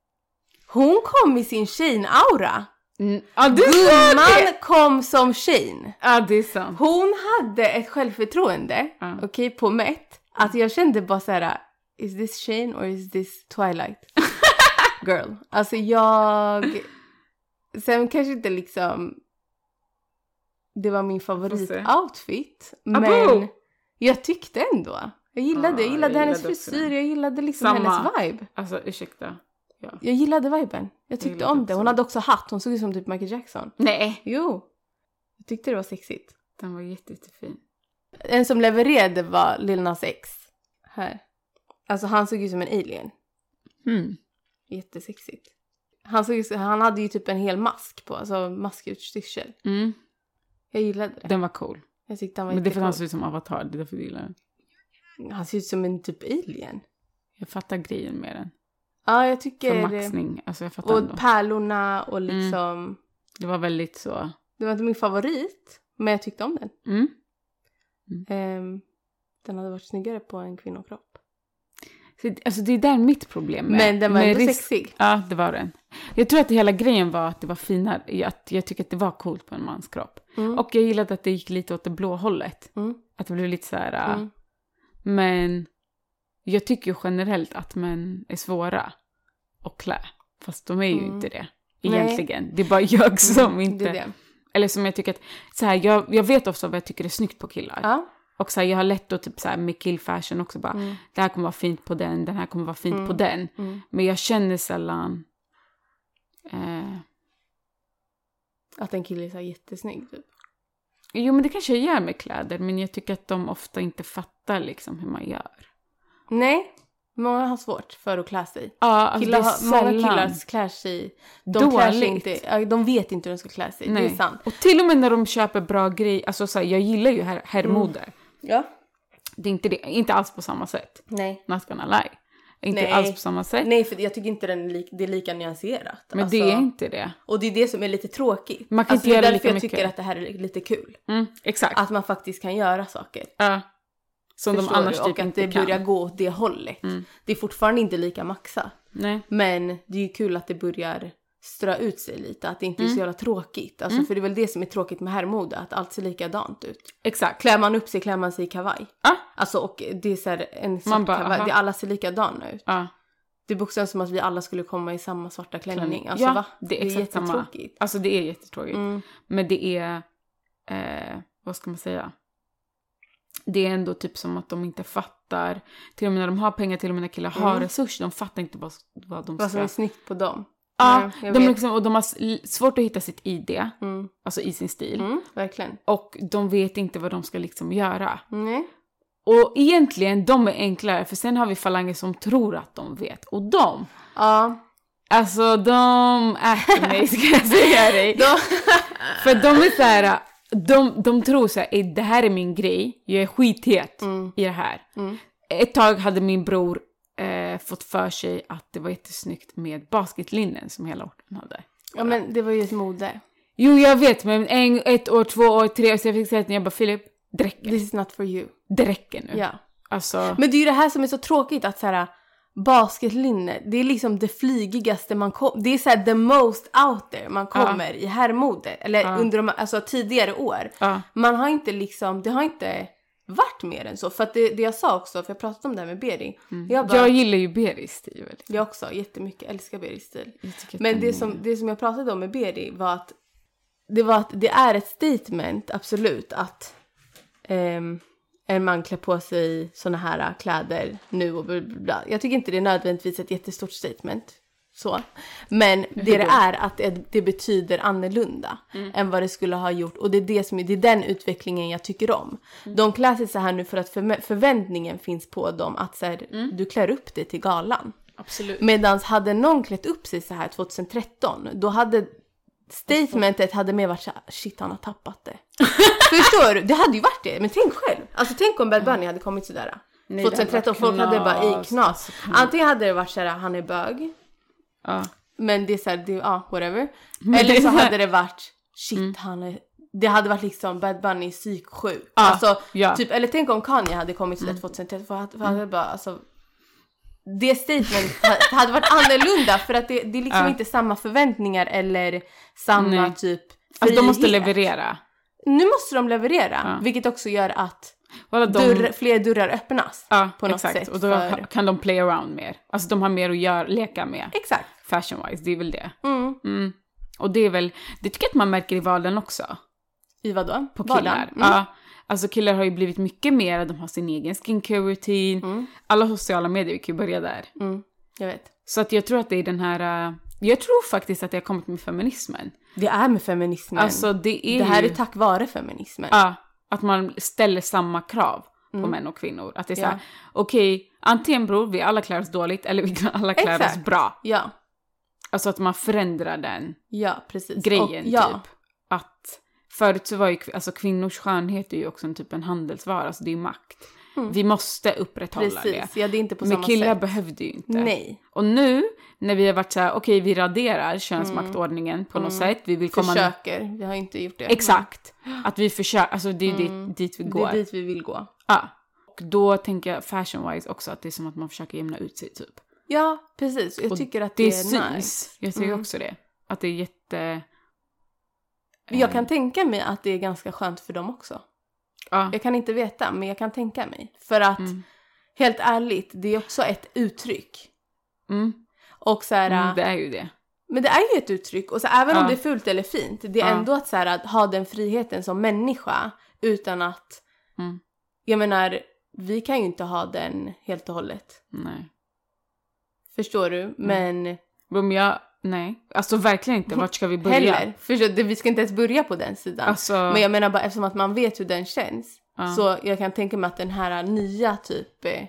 S2: Hon kom i sin Shane-aura!
S1: Mm. Ja, du sa det!
S2: Gumman kom som Shane!
S1: Ja, det är sant.
S2: Hon hade ett självförtroende,
S1: Ja.
S2: okej, på mätt. Att jag kände bara så här: is this Shane or is this
S1: *laughs*
S2: Twilight? Girl. Alltså jag... Sen kanske inte liksom... Det var min favoritoutfit.
S1: Abo!
S2: Men jag tyckte ändå. Jag gillade,
S1: Ja,
S2: jag gillade
S1: jag
S2: hennes
S1: gillade också
S2: frisyr,
S1: den.
S2: jag gillade liksom
S1: Samma.
S2: hennes vibe.
S1: Alltså, ursäkta. Ja.
S2: Jag gillade viben. Jag tyckte
S1: gillade
S2: om det.
S1: också
S2: Hon
S1: den.
S2: hade också hatt, hon såg ut som typ Michael Jackson.
S1: Nej.
S2: Jo. Jag tyckte det var sexigt.
S1: Den var jätte, jättefin.
S2: En som levererade var Lil Nas X. Här. Alltså han såg ut som en alien.
S1: Mm.
S2: Jättesexigt. Han, såg ut, han hade ju typ en hel mask på, alltså maskutstyrsel.
S1: Mm.
S2: Jag gillade det.
S1: Den var cool.
S2: Jag tyckte han var
S1: Men det är för att han
S2: jättecool.
S1: ser ut som avatar, det är därför jag gillar den.
S2: Han ser ut som en typ alien.
S1: Jag fattar grejen med den.
S2: Ja, jag
S1: För
S2: tycker... det.
S1: maxning, alltså jag fattar ändå. Mm.
S2: Och pärlorna och liksom...
S1: Det var väldigt så...
S2: Det var inte min favorit, men jag tyckte om den.
S1: Mm.
S2: Ehm, den hade varit snyggare på en kvinnokropp.
S1: Så, alltså det är där mitt problem är.
S2: Men den var
S1: Med
S2: ändå
S1: risk-
S2: sexig.
S1: Ja, det var den. Jag tror att hela grejen var att det var finare, att jag tycker att det var coolt på en mans kropp.
S2: Mm.
S1: Och jag gillade att det gick lite åt det blå hållet.
S2: Mm.
S1: Att det blev lite så här, äh,
S2: Mm.
S1: men jag tycker ju generellt att män är svåra att klä. Fast de är ju
S2: Mm.
S1: inte det.
S2: Nej. Mm,
S1: Egentligen. Det är bara jag som inte...
S2: Det är det.
S1: Eller som jag tycker att, så här, jag, jag vet ofta vad jag tycker är snyggt på killar.
S2: Ja.
S1: Och så här, jag har lätt att typ så här med killfashion också bara,
S2: Mm.
S1: det här kommer vara fint på den, den här kommer vara fint på
S2: Mm.
S1: den.
S2: Mm.
S1: Men jag känner sällan... Eh,
S2: Att en kille är så här jättesnygg typ.
S1: jo, men det kanske jag gör med kläder, men jag tycker att de ofta inte fattar liksom hur man gör.
S2: Nej, många har svårt för att klä sig.
S1: Ja, alltså,
S2: Killar
S1: det är
S2: har, många
S1: sällan.
S2: killar klär sig... De klär sig
S1: Dåligt.
S2: inte, ja, de vet inte hur de ska klä sig, det är sant.
S1: Och till och med när de köper bra grejer, alltså så här, jag gillar ju herr- herrmode.
S2: Mm. Ja.
S1: Det är inte det, inte alls på samma sätt.
S2: Nej.
S1: Not gonna lie. Inte
S2: Nej.
S1: alls på samma sätt.
S2: Nej, för jag tycker inte den är lik, det är lika nyanserat.
S1: Men
S2: Alltså,
S1: det är inte det.
S2: Och det är det som är lite tråkigt.
S1: Man kan
S2: alltså,
S1: inte göra
S2: det är
S1: lika
S2: därför jag
S1: mycket.
S2: tycker att det här är lite kul.
S1: Mm, exakt.
S2: Att man faktiskt kan göra saker.
S1: Ja. som de
S2: Alltså, Förstår
S1: annars
S2: du?
S1: typ
S2: Och att
S1: inte
S2: det
S1: kan. Mm.
S2: börjar gå åt det hållet. Det är fortfarande inte lika maxat.
S1: Nej.
S2: Men det är ju kul att det börjar strö ut sig lite, att det inte är
S1: Mm.
S2: så jävla tråkigt. Alltså, För det är väl det som är tråkigt med herrmode, att allt ser likadant ut.
S1: Exakt.
S2: Klär man upp sig klär man sig i kavaj.
S1: Ja.
S2: Alltså och det är så här en svart
S1: Man bara,
S2: kavaj,
S1: aha.
S2: det, alla ser likadana ut.
S1: Ja.
S2: Det är bokstavligen som att vi alla skulle komma i samma svarta klänning. Alltså
S1: ja,
S2: va?
S1: det är exakt samma.
S2: jättetråkigt.
S1: Alltså det är jättetråkigt.
S2: Mm.
S1: Men det är, eh, vad ska man säga? Det är ändå typ som att de inte fattar, till och med när de har pengar, till och med när killar har
S2: Mm.
S1: resurser, de fattar inte vad, vad de
S2: Vad som
S1: ska...
S2: är snyggt på dem.
S1: Ja,
S2: jag
S1: de
S2: vet.
S1: liksom, och de har s- l- svårt att hitta sitt ID,
S2: Mm.
S1: alltså i sin stil.
S2: Mm, verkligen. Mm.
S1: Och de vet inte vad de ska liksom göra.
S2: Nej.
S1: Och egentligen, de är enklare, för sen har vi falanger som tror att de vet. Och de,
S2: Ja.
S1: alltså de...
S2: *laughs*
S1: Äh, nej, ska jag säga dig.
S2: Då...
S1: För de är så här, de, de tror så här, "Ey, det här är min grej, jag är skithet
S2: *laughs* Mm.
S1: i det här.
S2: Mm.
S1: Ett tag hade min bror eh, fått för sig att det var jättesnyggt med basketlinnen som hela orten hade.
S2: ja men det var ju ett mode.
S1: Jo, jag vet, men en, ett år, två år, tre år, så jag fick säga till honom, jag bara Filip, det räcker,
S2: This is not for you.
S1: det räcker nu.
S2: Ja. *laughs*
S1: Alltså,
S2: Men det är ju det här som är så tråkigt att så här basketlinne, det är liksom det flygigaste man kommer, det är så här the most out there man kommer i herrmode, eller
S1: Ja.
S2: under de, alltså tidigare år.
S1: ja,
S2: Man har inte liksom, det har inte varit mer än så. För att det, det jag sa också, för jag pratade om det här med Beri, jag bara,
S1: Mm. jag
S2: jag...
S1: gillar ju Beris stil väldigt.
S2: också jättemycket älskar Beris stil.
S1: Jag tycker att
S2: Men
S1: den
S2: det
S1: är-
S2: som, det som jag pratade om med Beri var att det, var att det är ett statement, absolut, att ehm, en man klär på sig såna här äh, kläder nu och bla, bla, bla. Jag tycker inte det är nödvändigtvis ett jättestort statement. Så. Men det det är att det, det betyder annorlunda än vad det skulle ha gjort. Och det är, det, som, är- det är den utvecklingen jag tycker om. De klär sig så här nu för att förmä- förväntningen finns på dem att så här, du klär upp dig till galan.
S1: Absolut.
S2: Medan hade någon klätt upp sig så här 2013, då hade statementet hade mer varit såhär, shit han
S1: *laughs*
S2: har tappat det. Förstår du? Det hade ju varit det, men tänk själv. Alltså tänk om Bad Bunny hade kommit sådär.
S1: Mm. Nej, det hade
S2: 2013,
S1: varit
S2: folk hade bara i
S1: knas,
S2: knas.
S1: alltså,
S2: Antingen hade det varit såhär, han är bög,
S1: Ja.
S2: men det är såhär, det- ja whatever.
S1: Men det
S2: Eller
S1: är
S2: så
S1: så här- Mm.
S2: hade det varit, shit han är, det hade varit liksom Bad Bunny är psyksjuk.
S1: Ja,
S2: Alltså,
S1: ja. Mm.
S2: typ, eller tänk om Kanye hade kommit sådär 2013, för han för han hade bara alltså det statement ha- hade varit annorlunda för att det, det är liksom
S1: Ja.
S2: inte samma förväntningar eller samma
S1: Nej.
S2: typ
S1: Alltså de måste
S2: frihet.
S1: leverera.
S2: Nu måste de leverera,
S1: Ja.
S2: vilket också gör att
S1: Vadå, de-
S2: dörr, fler dörrar öppnas.
S1: Ja,
S2: på något
S1: exakt.
S2: sätt
S1: Och då
S2: för-
S1: kan de play around mer. Alltså de har mer att göra, leka med.
S2: Exakt.
S1: Fashion-wise, det är väl det.
S2: Mm.
S1: Mm. Och det är väl, det tycker jag att man märker i valen också.
S2: I vadå?
S1: På
S2: Vardagen?
S1: killar.
S2: Mm.
S1: Ja. Alltså killar har ju blivit mycket mer, de har sin egen skincare-rutin. Alla sociala medier, vi kan ju börja där.
S2: Mm. Jag vet.
S1: Så att jag tror att det är den här, äh, jag tror faktiskt att det har kommit med feminismen.
S2: Det är med feminismen.
S1: Alltså det är
S2: det här
S1: ju-
S2: är tack vare feminismen.
S1: Ja, att man ställer samma krav på
S2: Mm.
S1: män och kvinnor. Att det är så här, okej, antingen bror, vi alla klär oss dåligt eller vi kan alla klär oss
S2: Exakt.
S1: bra.
S2: Ja,
S1: Alltså att man förändrar den
S2: ja precis.
S1: grejen
S2: Och- ja,
S1: typ. Att förut så var ju, kv- alltså kvinnors skönhet är ju också en typ en handelsvara, alltså det är ju makt. Vi måste upprätthålla det.
S2: Mm. Precis, ja det är inte på
S1: Men
S2: samma
S1: killar
S2: sätt.
S1: behövde ju inte.
S2: Nej.
S1: Och nu när vi har varit så här, okej vi raderar könsmaktordningen på något sätt, vi vill komma...
S2: Mm. Försöker, vi har inte gjort det.
S1: Exakt. Att vi försöker, alltså det är ju dit, dit vi
S2: Mm. Det
S1: går.
S2: är dit vi vill gå.
S1: Ja. Och då tänker jag fashion-wise också att det är som att man försöker jämna ut sig typ.
S2: Ja, precis. Jag
S1: Och
S2: tycker att det,
S1: det
S2: är
S1: syns.
S2: nice.
S1: Jag tycker
S2: Mm.
S1: också det. Att det är jätte... Mm.
S2: Jag kan tänka mig att det är ganska skönt för dem också.
S1: Eh, Ja.
S2: Jag kan inte veta, men jag kan tänka mig. För att,
S1: Mm.
S2: helt ärligt, det är också ett uttryck.
S1: Mm.
S2: Och så här,
S1: Mm, det är ju det.
S2: Men det är ju ett uttryck och så även om
S1: Ja.
S2: det är fult eller fint, det är
S1: Ja.
S2: ändå att, så här, att ha den friheten som människa utan att,
S1: Mm.
S2: jag menar, vi kan ju inte ha den helt och hållet.
S1: Nej.
S2: Förstår
S1: Mm.
S2: du? Men
S1: Men jag... Nej. Alltså verkligen inte. Vart ska vi börja?
S2: heller, förstår du? Vi ska inte ens börja på den sidan.
S1: Alltså...
S2: Men jag menar bara eftersom att man vet hur den känns
S1: Ja.
S2: så jag kan tänka mig att den här nya typ eh,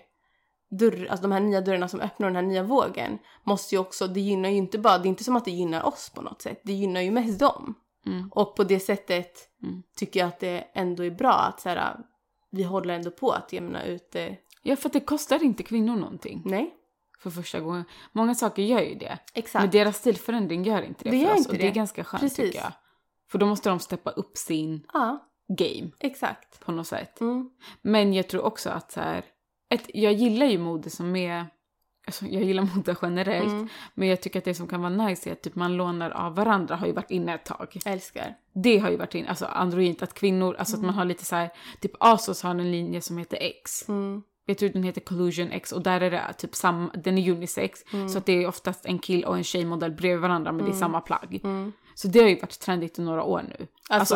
S2: dörr, alltså de här nya dörrarna som öppnar den här nya vågen måste ju också, det gynnar ju inte bara, det är inte som att det gynnar oss på något sätt, det gynnar ju mest dem.
S1: Mm.
S2: Och på det sättet
S1: Mm.
S2: tycker jag att det ändå är bra att så här, vi håller ändå på att jämna ut det.
S1: Ja, för att det kostar inte kvinnor någonting.
S2: Nej,
S1: För första gången. Många saker gör ju det.
S2: exakt.
S1: Men deras stilförändring gör inte det,
S2: Det
S1: för
S2: gör
S1: oss.
S2: inte
S1: och det.
S2: det.
S1: är ganska skönt
S2: Precis.
S1: tycker jag. För då måste de steppa upp sin
S2: Ja,
S1: game
S2: exakt.
S1: på något sätt.
S2: Mm.
S1: Men jag tror också att så här, ett, jag gillar ju mode som är, alltså jag gillar mode generellt,
S2: Mm.
S1: men jag tycker att det som kan vara nice är att typ man lånar av varandra har ju varit inne ett tag.
S2: Älskar.
S1: Det har ju varit inne, alltså androgynt, att kvinnor, alltså
S2: Mm.
S1: att man har lite så här, typ ASOS har en linje som heter X.
S2: Mm.
S1: Jag tror den heter Collusion X och där är det typ samma, den är unisex. Så att det är oftast en kill och en tjejmodell bredvid varandra men det är samma plagg.
S2: Mm. Mm.
S1: Så det har ju varit trendigt i några år nu.
S2: Alltså,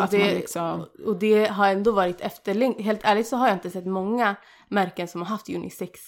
S1: Alltså, att
S2: det,
S1: man liksom,
S2: Och det har ändå varit efterlängt. Helt ärligt så har jag inte sett många märken som har haft unisex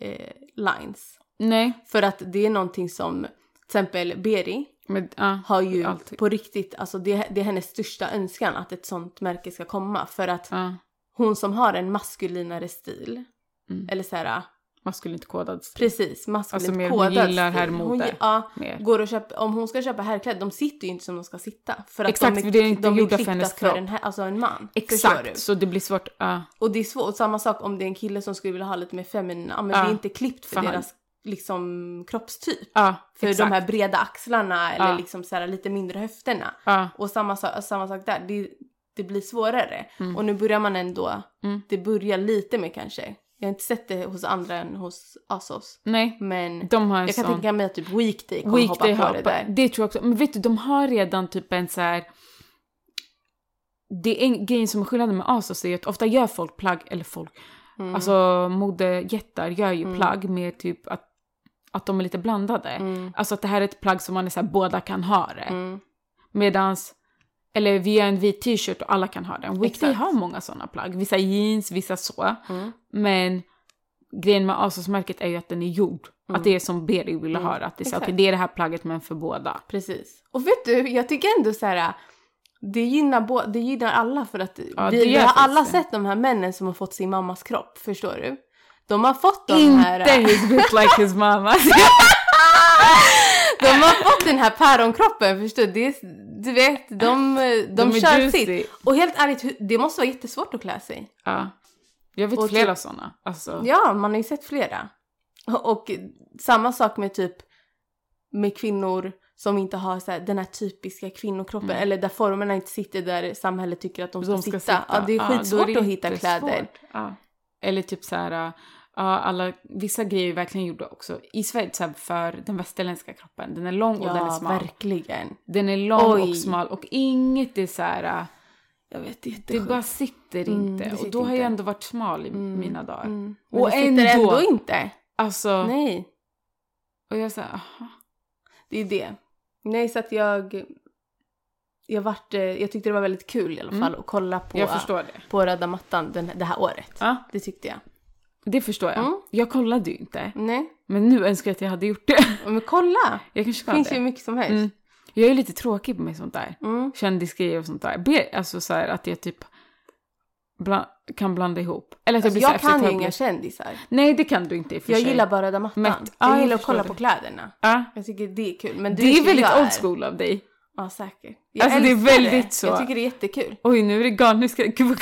S2: eh, lines.
S1: nej,
S2: För att det är någonting som till exempel Beri
S1: men ja.
S2: har ju
S1: Alltid.
S2: på riktigt, alltså det, det är hennes största önskan att ett sånt märke ska komma. För att
S1: ja.
S2: hon som har en maskulinare stil.
S1: Mm.
S2: Eller så här,
S1: Maskulint kodad stil.
S2: precis, maskulint
S1: Alltså mer hon
S2: kodad
S1: gillar
S2: stil.
S1: herrmode.
S2: Hon gi- ja,
S1: Mer.
S2: går och köper, om hon ska köpa herrkläder, de sitter ju inte som de ska sitta. För att
S1: Exakt,
S2: de
S1: för det är inte
S2: de
S1: gjorda för
S2: klippta
S1: hennes
S2: för
S1: kropp.
S2: en, här- alltså en man. Förstår du?
S1: Exakt, så det blir svårt. ja.
S2: Och det är svårt, och samma sak om det är en kille som skulle vilja ha lite mer feminina, ja, men
S1: Ja,
S2: det är inte klippt för
S1: för han-
S2: deras liksom, kroppstyp.
S1: Ja,
S2: För
S1: exakt.
S2: de här breda axlarna eller
S1: Ja.
S2: liksom så här, lite mindre höfterna.
S1: Ja,
S2: Och samma, sa- samma sak där, det, det blir svårare. Och nu börjar man ändå,
S1: Mm.
S2: det börjar lite mer kanske. Jag har inte sett det hos andra än hos ASOS.
S1: nej.
S2: Men
S1: De har en
S2: jag kan
S1: sån...
S2: tänka mig att typ Weekday kommer
S1: Weekday
S2: hoppa på det
S1: hoppa.
S2: där.
S1: Det tror jag också. Men vet du, de har redan typ en så här... Det är en grej som är skillnaden med ASOS är att ofta gör folk plagg, eller folk,
S2: Mm.
S1: alltså modejättar gör ju plagg med typ att, att de är lite blandade. Alltså att det här är ett plagg som man är så här, båda kan ha det.
S2: Mm.
S1: Medans, eller vi gör en vit t-shirt och alla kan ha den. Weekday
S2: Exakt.
S1: har många sådana plagg. Vissa jeans, vissa så.
S2: Mm.
S1: Men grejen med Asos-märket är ju att den är gjord. Att det är som Beri ville ha det. Att det är, så,
S2: Mm. Exakt.
S1: okay, det är det här plagget men för båda.
S2: Precis. Och vet du, jag tycker ändå så här. Det gynnar, bo- det gynnar alla för att
S1: Ja,
S2: vi,
S1: det
S2: vi
S1: gör
S2: har alla
S1: faktiskt det.
S2: sett de här männen som har fått sin mammas kropp, förstår du? De har fått de här... äh,
S1: Inte his built like his
S2: *laughs*
S1: mama.
S2: De har fått den här päronkroppen, förstår du? Det är, du vet, de, de,
S1: De är
S2: kör
S1: juicy.
S2: sitt. Och helt ärligt, hur- det måste vara jättesvårt att klä sig.
S1: ja. Jag vet
S2: Och typ-
S1: flera såna. Alltså,
S2: Ja, man har ju sett flera. Och, och samma sak med typ med kvinnor som inte har så här, den här typiska kvinnokroppen
S1: Mm.
S2: eller där formerna inte sitter där samhället tycker att de ska,
S1: de
S2: sitta. Ja, det är
S1: då
S2: skitsvårt att hitta
S1: jättesvårt.
S2: kläder.
S1: Ja. Eller typ så här, äh, ja, alla, vissa grejer är verkligen gjorda också i Sverige så här, för den västerländska kroppen. Den är lång och den är
S2: Ja,
S1: smal.
S2: verkligen.
S1: Den är lång
S2: Oj.
S1: och smal och inget är så här, äh,
S2: Jag vet, det är
S1: det
S2: jättesjukt.
S1: bara sitter
S2: Mm,
S1: inte.
S2: det sitter
S1: och då har jag
S2: inte.
S1: ändå varit smal i
S2: Mm,
S1: mina dagar.
S2: Mm. Men
S1: Och
S2: det sitter
S1: ändå-
S2: ändå, inte.
S1: Alltså,
S2: Nej,
S1: och jag "Ah, säger, aha.
S2: det är det. Nej, så att jag... Jag, vart, eh, jag tyckte det var väldigt kul i alla fall
S1: Mm.
S2: att kolla på,
S1: jag förstår det.
S2: på röda mattan den, det här året.
S1: Ja,
S2: Det tyckte jag.
S1: det förstår jag.
S2: Mm.
S1: Jag kollade ju inte,
S2: Nej,
S1: men nu önskar jag att jag hade gjort det. *laughs*
S2: men kolla!
S1: Jag kanske
S2: Det
S1: ska
S2: finns ju
S1: det.
S2: hur mycket som helst.
S1: Mm. Jag är lite tråkig på mig sånt där.
S2: Mm.
S1: kändisgrejer och sånt där. Be, alltså så här att jag typ bla, kan blanda ihop. Eller att jag
S2: Alltså,
S1: blir så här
S2: jag kan ju
S1: eftertänksam.
S2: inga kändisar.
S1: Nej, det kan du inte i och för
S2: Jag
S1: sig.
S2: gillar bara röda mattan.
S1: Mätt. Ja,
S2: Jag
S1: jag
S2: gillar att
S1: förstår
S2: kolla
S1: det.
S2: på kläderna.
S1: Ja.
S2: Jag tycker det är kul. Men
S1: Det
S2: du
S1: är
S2: tycker
S1: väldigt
S2: jag
S1: old school av dig.
S2: Ja, säkert.
S1: Alltså, det är
S2: älskar
S1: väldigt så.
S2: Jag tycker det är jättekul.
S1: Oj, nu är det galet. Nu ska jag... Gud, vad-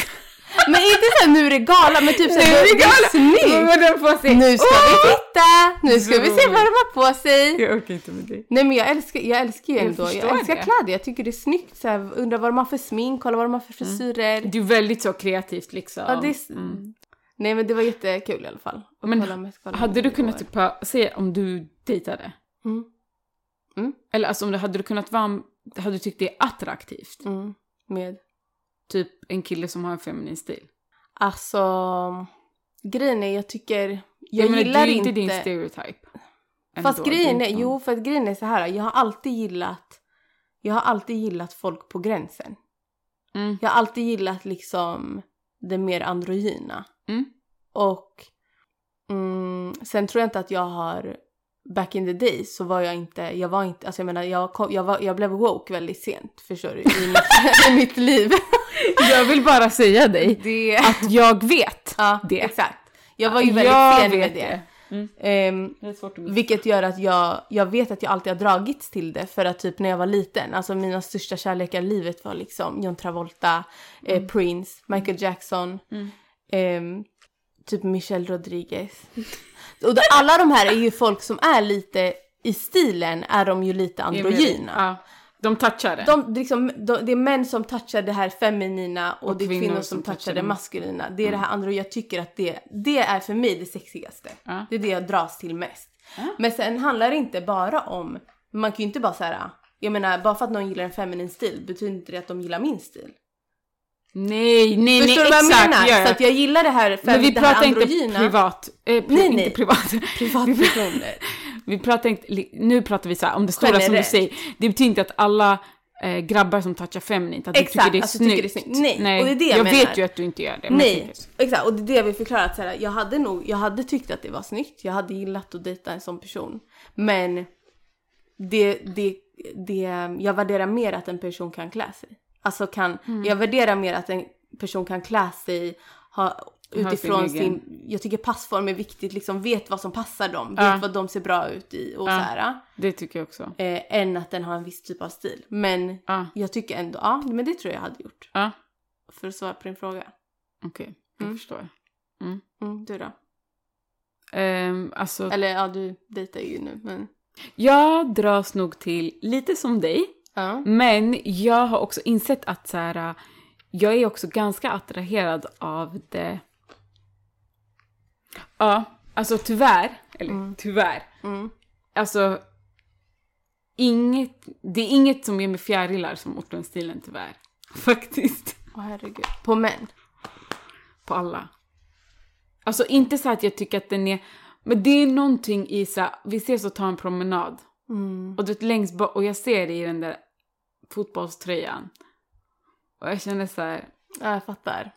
S2: Men inte såhär nu är det gala, men typ
S1: Nu är
S2: såhär
S1: det galet! Vad
S2: snyggt.
S1: var den på sig?
S2: Nu ska vi titta! Nu ska
S1: Så
S2: vi se
S1: roligt.
S2: vad de har på sig.
S1: Jag orkar inte med dig.
S2: Nej men jag älskar, jag älskar ju
S1: Jag
S2: ändå, jag,
S1: förstår
S2: älskar
S1: det.
S2: kläder. Jag tycker det är snyggt såhär, undrar vad de har för smink, kolla vad de har för
S1: Mm.
S2: frisyrer.
S1: Det är väldigt så kreativt liksom.
S2: Ja, det är... s-
S1: Mm.
S2: Nej men det var jättekul i alla fall. att
S1: Men
S2: kolla med- kolla
S1: Hade
S2: med
S1: du
S2: det
S1: kunnat
S2: går.
S1: typ ha- se om du dejtade?
S2: Mm. Mm.
S1: Eller alltså om du hade du kunnat vara... Hade du tyckt det är attraktivt?
S2: Mm, med.
S1: Typ en kille som har en feminin stil?
S2: Alltså, grejen är jag tycker, jag
S1: menar,
S2: gillar
S1: det är
S2: inte...
S1: inte din stereotyp.
S2: Fast
S1: Ändå,
S2: grejen
S1: det
S2: är,
S1: inte-
S2: jo för att grejen är så här, jag har alltid gillat, jag har alltid gillat folk på gränsen.
S1: Mm.
S2: Jag har alltid gillat liksom det mer androgyna.
S1: Mm.
S2: Och mm, sen tror jag inte att jag har, back in the day så var jag inte, jag var inte, alltså jag menar jag, kom, jag, var, jag blev woke väldigt sent förstår du, i mitt, i mitt liv.
S1: Jag vill bara säga dig
S2: *laughs* Det,
S1: att jag vet.
S2: ja,
S1: det.
S2: exakt. Jag var ju väldigt sen med
S1: vet
S2: det.
S1: Mm.
S2: Ehm,
S1: Det är svårt att
S2: vilket gör att jag, jag vet att jag alltid har dragits till det för att typ när jag var liten, alltså mina största kärlekar i livet var liksom John Travolta, eh, Prince, Michael Jackson,
S1: Mm.
S2: ehm, typ Michelle Rodriguez. Och då, alla de här är ju folk som är lite, i stilen är de ju lite androgyna.
S1: Ja, de touchar det.
S2: De, det är liksom, de, det är män som touchar det här feminina och,
S1: Och
S2: det är kvinnor, som, touchar det maskulina. Det är
S1: Mm.
S2: det här andra jag tycker att det, det är för mig det sexigaste.
S1: Ja.
S2: Det är det jag dras till mest.
S1: Ja.
S2: Men sen handlar det inte bara om, man kan ju inte bara säga jag menar bara för att någon gillar en feminin stil betyder inte det att de gillar min stil.
S1: Nej, nej,
S2: Förstår
S1: nej,
S2: du vad jag
S1: exakt.
S2: menar?
S1: ja, ja.
S2: Så att jag gillar det här,
S1: Men vi
S2: det här
S1: pratar inte
S2: androgyna.
S1: privat. Eh, pri-
S2: Nej,
S1: inte
S2: nej.
S1: privat. *laughs*
S2: privatpersoner.
S1: Vi pratar inte, li- nu pratar vi så här om det stora som du
S2: Generellt.
S1: säger. Det betyder inte att alla eh, grabbar som touchar feminint, att du
S2: Exakt,
S1: tycker det är
S2: att du
S1: snyggt.
S2: tycker det är snyggt. Nej, och det är det jag
S1: jag
S2: menar.
S1: vet ju att du inte gör det. men jag
S2: Nej,
S1: tänker så.
S2: exakt. Och det är det jag vill förklara. Att så här, jag hade nog, jag hade tyckt att det var snyggt. Jag hade gillat att dejta en sån person. Men det, det, det, jag värderar mer att en person kan klä sig. Alltså kan,
S1: Mm.
S2: jag värderar mer att en person kan klä sig ha,
S1: sin
S2: utifrån sin,
S1: egen-
S2: jag tycker passform är viktigt, liksom vet vad som passar dem,
S1: Ja.
S2: vet vad de ser bra ut i och
S1: Ja.
S2: så här.
S1: Det tycker jag också. Ah,
S2: Eh, än att den har en viss typ av stil. Men
S1: Ja,
S2: jag tycker ändå, ja men det tror jag jag hade gjort.
S1: ja,
S2: För att svara på din fråga.
S1: okej. Jag
S2: Mm.
S1: förstår.
S2: Mm, du då?
S1: Ehm, alltså,
S2: Eller ja, du dejtar ju nu men...
S1: Jag dras nog till lite som dig,
S2: Ja.
S1: men jag har också insett att så här, äh, jag är också ganska attraherad av det. Ja, alltså tyvärr, eller tyvärr,
S2: Mm.
S1: alltså inget, det är inget som ger mig fjärilar som Ortenstilen tyvärr. *laughs* Faktiskt.
S2: Åh herregud. På män?
S1: På alla. Alltså inte så att jag tycker att den är, men det är någonting i så här, vi ses och tar en promenad.
S2: Mm.
S1: Och du vet, längst bak, och jag ser det i den där fotbollströjan. Och jag känner så här,
S2: Ja, jag fattar.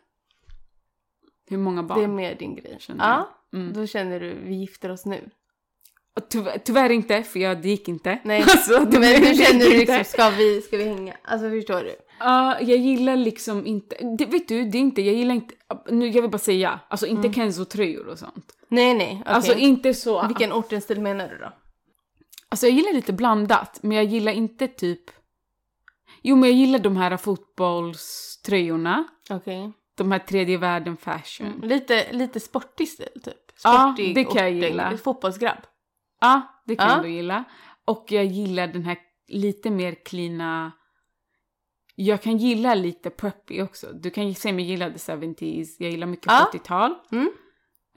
S1: hur många barn?
S2: Det är mer din grej.
S1: Känner jag.
S2: Ja.
S1: Mm.
S2: Då känner du, vi gifter oss nu.
S1: Och tyvärr, tyvärr inte, för jag, det gick inte.
S2: Nej.
S1: *laughs* Alltså,
S2: *laughs* Men
S1: *laughs*
S2: hur känner du
S1: inte.
S2: liksom, ska vi, ska vi hänga? Alltså förstår du?
S1: Ja, jag gillar liksom inte, det, vet du, det är inte, jag gillar inte, nu jag vill bara säga, alltså inte Kenzo-tröjor och sånt.
S2: Nej nej, Mm. okej.
S1: Alltså inte så.
S2: Vilken ortenstil menar du då?
S1: Alltså jag gillar lite blandat, men jag gillar inte typ... Jo, men jag gillar de här fotbollströjorna.
S2: Okej.
S1: De här tredje världen fashion.
S2: Mm.
S1: Ja,
S2: Lite, lite sportig stil typ.
S1: Ja,
S2: Sportig
S1: det kan jag
S2: ortig-
S1: gilla.
S2: Fotbollsgrabb.
S1: det kan
S2: Ja.
S1: du gilla. Och jag gillar den här lite mer cleana... Jag kan gilla lite preppy också. Du kan ju se mig gilla the 70s. Jag gillar mycket
S2: Ja.
S1: 70-tal.
S2: Mm.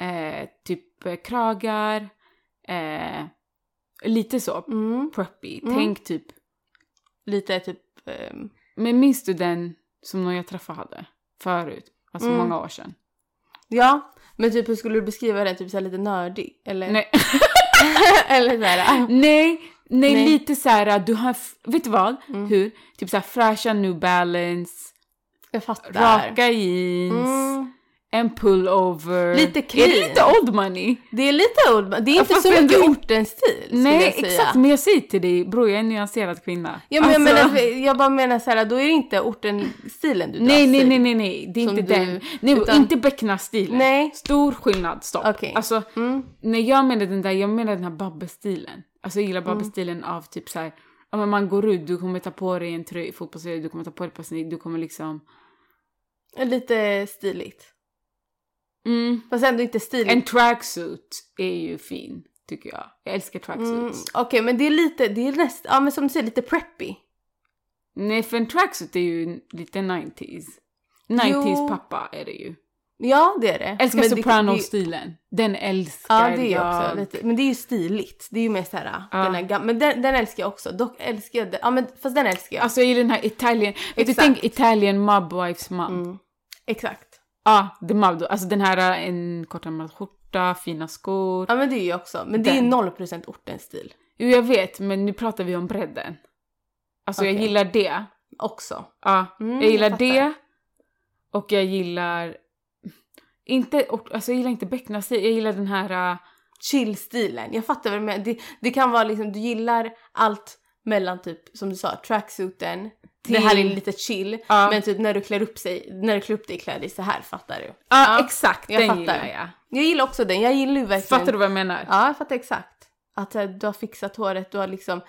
S1: Eh, typ eh, kragar. Eh, lite så
S2: Mm.
S1: preppy.
S2: Mm.
S1: Tänk typ...
S2: Lite typ... ehm,
S1: Men minns du den som någon jag träffade hade förut? Alltså
S2: Mm.
S1: många år sedan.
S2: ja, men typ hur skulle du beskriva den? Typ så här lite nördig? Eller,
S1: Nej.
S2: *laughs*
S1: *laughs*
S2: eller så här...
S1: Nej, nej,
S2: Nej.
S1: lite så här, du har, f- vet du vad?
S2: Mm.
S1: Hur? Typ så här fräscha New Balance,
S2: Jag fattar.
S1: raka jeans,
S2: Mm.
S1: en pullover.
S2: Lite
S1: Är det
S2: clean.
S1: lite old money?
S2: Det är lite old, det är inte
S1: fast
S2: så
S1: jag
S2: mycket
S1: tror-
S2: ortens-stil skulle
S1: Nej,
S2: jag säga.
S1: exakt. Men jag säger till dig, bror, jag är en nyanserad kvinna.
S2: Ja, men
S1: Alltså-
S2: jag, menar, jag bara menar så här, då är det inte orten-stilen du
S1: Nej,
S2: dras
S1: nej,
S2: till.
S1: nej, nej, nej, det är
S2: Alltså, Som
S1: inte
S2: du-
S1: den. Nej,
S2: utan-
S1: inte becknarstilen.
S2: Nej.
S1: Stor skillnad, stopp.
S2: Okej.
S1: Alltså,
S2: Mm.
S1: när jag menar den där, jag menar den här Babbe-stilen. Alltså jag gillar
S2: Mm.
S1: Babbe-stilen av typ så här, ja men man går ut, du kommer ta på dig en tröja, fotbollströja, du kommer ta på dig ett par sneakers, du kommer liksom...
S2: Lite stiligt.
S1: Mm.
S2: Fast ändå inte stiligt.
S1: En tracksuit är ju fin, tycker jag. Jag älskar
S2: Mm,
S1: tracksuits.
S2: Okej, men det är lite, det är näst, ja men som du säger, lite preppy. Mm.
S1: Nej, för en tracksuit är ju lite 90s. 90s pappa är det ju.
S2: Ja, det är det.
S1: Älskar
S2: Men det-
S1: Soprano-stilen. Den
S2: det- Ja,
S1: älskar
S2: det är jag också. Lite, men det är ju stiligt. Det är ju mer så här,
S1: Ja.
S2: den här gam- men den, den älskar jag också. Dock älskar jag den, ja men fast den älskar jag.
S1: Alltså jag gillar den här Italien... Vet du,
S2: Exakt.
S1: tänk Italien mob wives mom.
S2: mm. Exakt.
S1: Ja, the mob då. Alltså den här, eh, en kortärmad skjorta, fina skor.
S2: Ja men det är ju jag också. Men det är ju
S1: Den.
S2: 0% ortens stil
S1: Jo, jag vet, men nu pratar vi om bredden. Alltså jag
S2: Okej.
S1: gillar det.
S2: också.
S1: Ja,
S2: Mm,
S1: jag gillar
S2: jag fattar.
S1: det. Och jag gillar... Inte, och- alltså jag gillar inte becknarstil, jag gillar den här... eh,
S2: Chill-stilen. Jag fattar vad du menar. Det, det kan vara liksom, du gillar allt mellan typ, som du sa, tracksuiten, det här är
S1: Till-
S2: lite chill.
S1: Ja.
S2: Men typ när du klär upp sig, när du klär upp dig i kläder så här, fattar du?
S1: Ja,
S2: Ja,
S1: exakt,
S2: jag
S1: den
S2: fattar.
S1: gillar jag.
S2: Jag gillar också den. Jag gillar ju verkligen...
S1: Fattar du vad jag menar?
S2: Ja, jag fattar exakt. Att eh, du har fixat håret, du har liksom...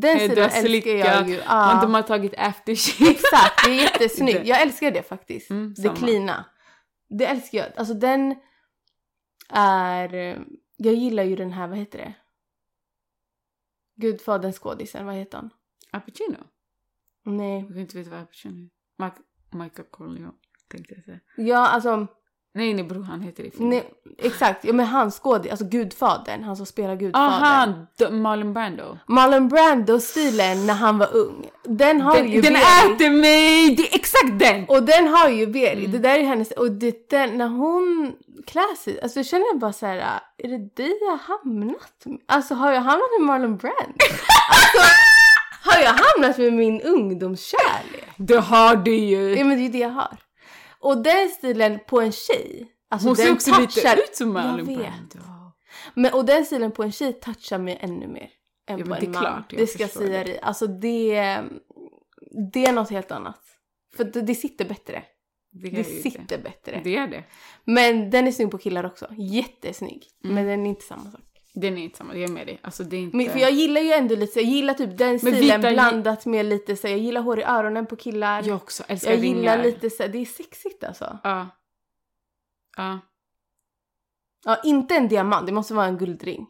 S2: Den
S1: Eh,
S2: sidan
S1: Du har
S2: älskar jag
S1: slickat,
S2: ju.
S1: man-
S2: Ja,
S1: de har tagit aftershave.
S2: *laughs* Exakt, det är jättesnyggt.
S1: Det-
S2: Jag älskar det faktiskt.
S1: Mm,
S2: det
S1: samma.
S2: klina. Det älskar jag. Alltså den är... eh, Jag gillar ju den här, vad heter det? Gudfaderns skådisen, vad heter han?
S1: Al Pacino?
S2: Nej.
S1: Jag kan inte veta vad Al Pacino är. Mic- Michael Corleone, tänkte jag säga.
S2: Ja, alltså...
S1: Nej, nej bror, han heter det i filmen.
S2: Nej, exakt. Ja, men han skådis, alltså gudfadern, han som
S1: Ah,
S2: spelar gudfadern.
S1: Aha, d- Marlon Brando.
S2: Marlon Brando-stilen när han var ung. Den har ju
S1: Den, den
S2: Berit.
S1: äter mig! Det är exakt den!
S2: Och den har ju Berit.
S1: Mm.
S2: Det där är hennes... Och det, den, när hon klär sig... Alltså jag känner bara så här... Är det dig jag hamnat med? Alltså har jag hamnat med Marlon Brando? alltså, har jag hamnat med min ungdomskärlek?
S1: Det har du ju!
S2: Ja men det är ju det jag har. Och den stilen på en tjej. Alltså
S1: Hon ser
S2: den
S1: också lite
S2: touchar-
S1: ut som Marlon
S2: Jag vet.
S1: Brando.
S2: Men, och den stilen på en tjej touchar mig ännu mer än
S1: Ja, men
S2: på
S1: det är
S2: en man.
S1: klart, jag
S2: det ska jag
S1: förstår
S2: säga dig. Alltså det, det är något helt annat. För det, det sitter bättre.
S1: Det,
S2: Det,
S1: gör ju
S2: sitter
S1: det.
S2: bättre.
S1: Det gör det.
S2: Men den är snygg på killar också. Jättesnygg.
S1: Mm.
S2: Men den är inte samma sak.
S1: Den är inte samma, jag är med dig. Alltså det är inte...
S2: Men, för jag gillar ju ändå lite, så jag gillar typ den stilen
S1: vita-
S2: blandat med lite så jag gillar hår i öronen på killar.
S1: Jag också älskar
S2: jag gillar
S1: ringar.
S2: lite så det är sexigt alltså.
S1: Ja. Ja.
S2: Ja, inte en diamant, det måste vara en guldring.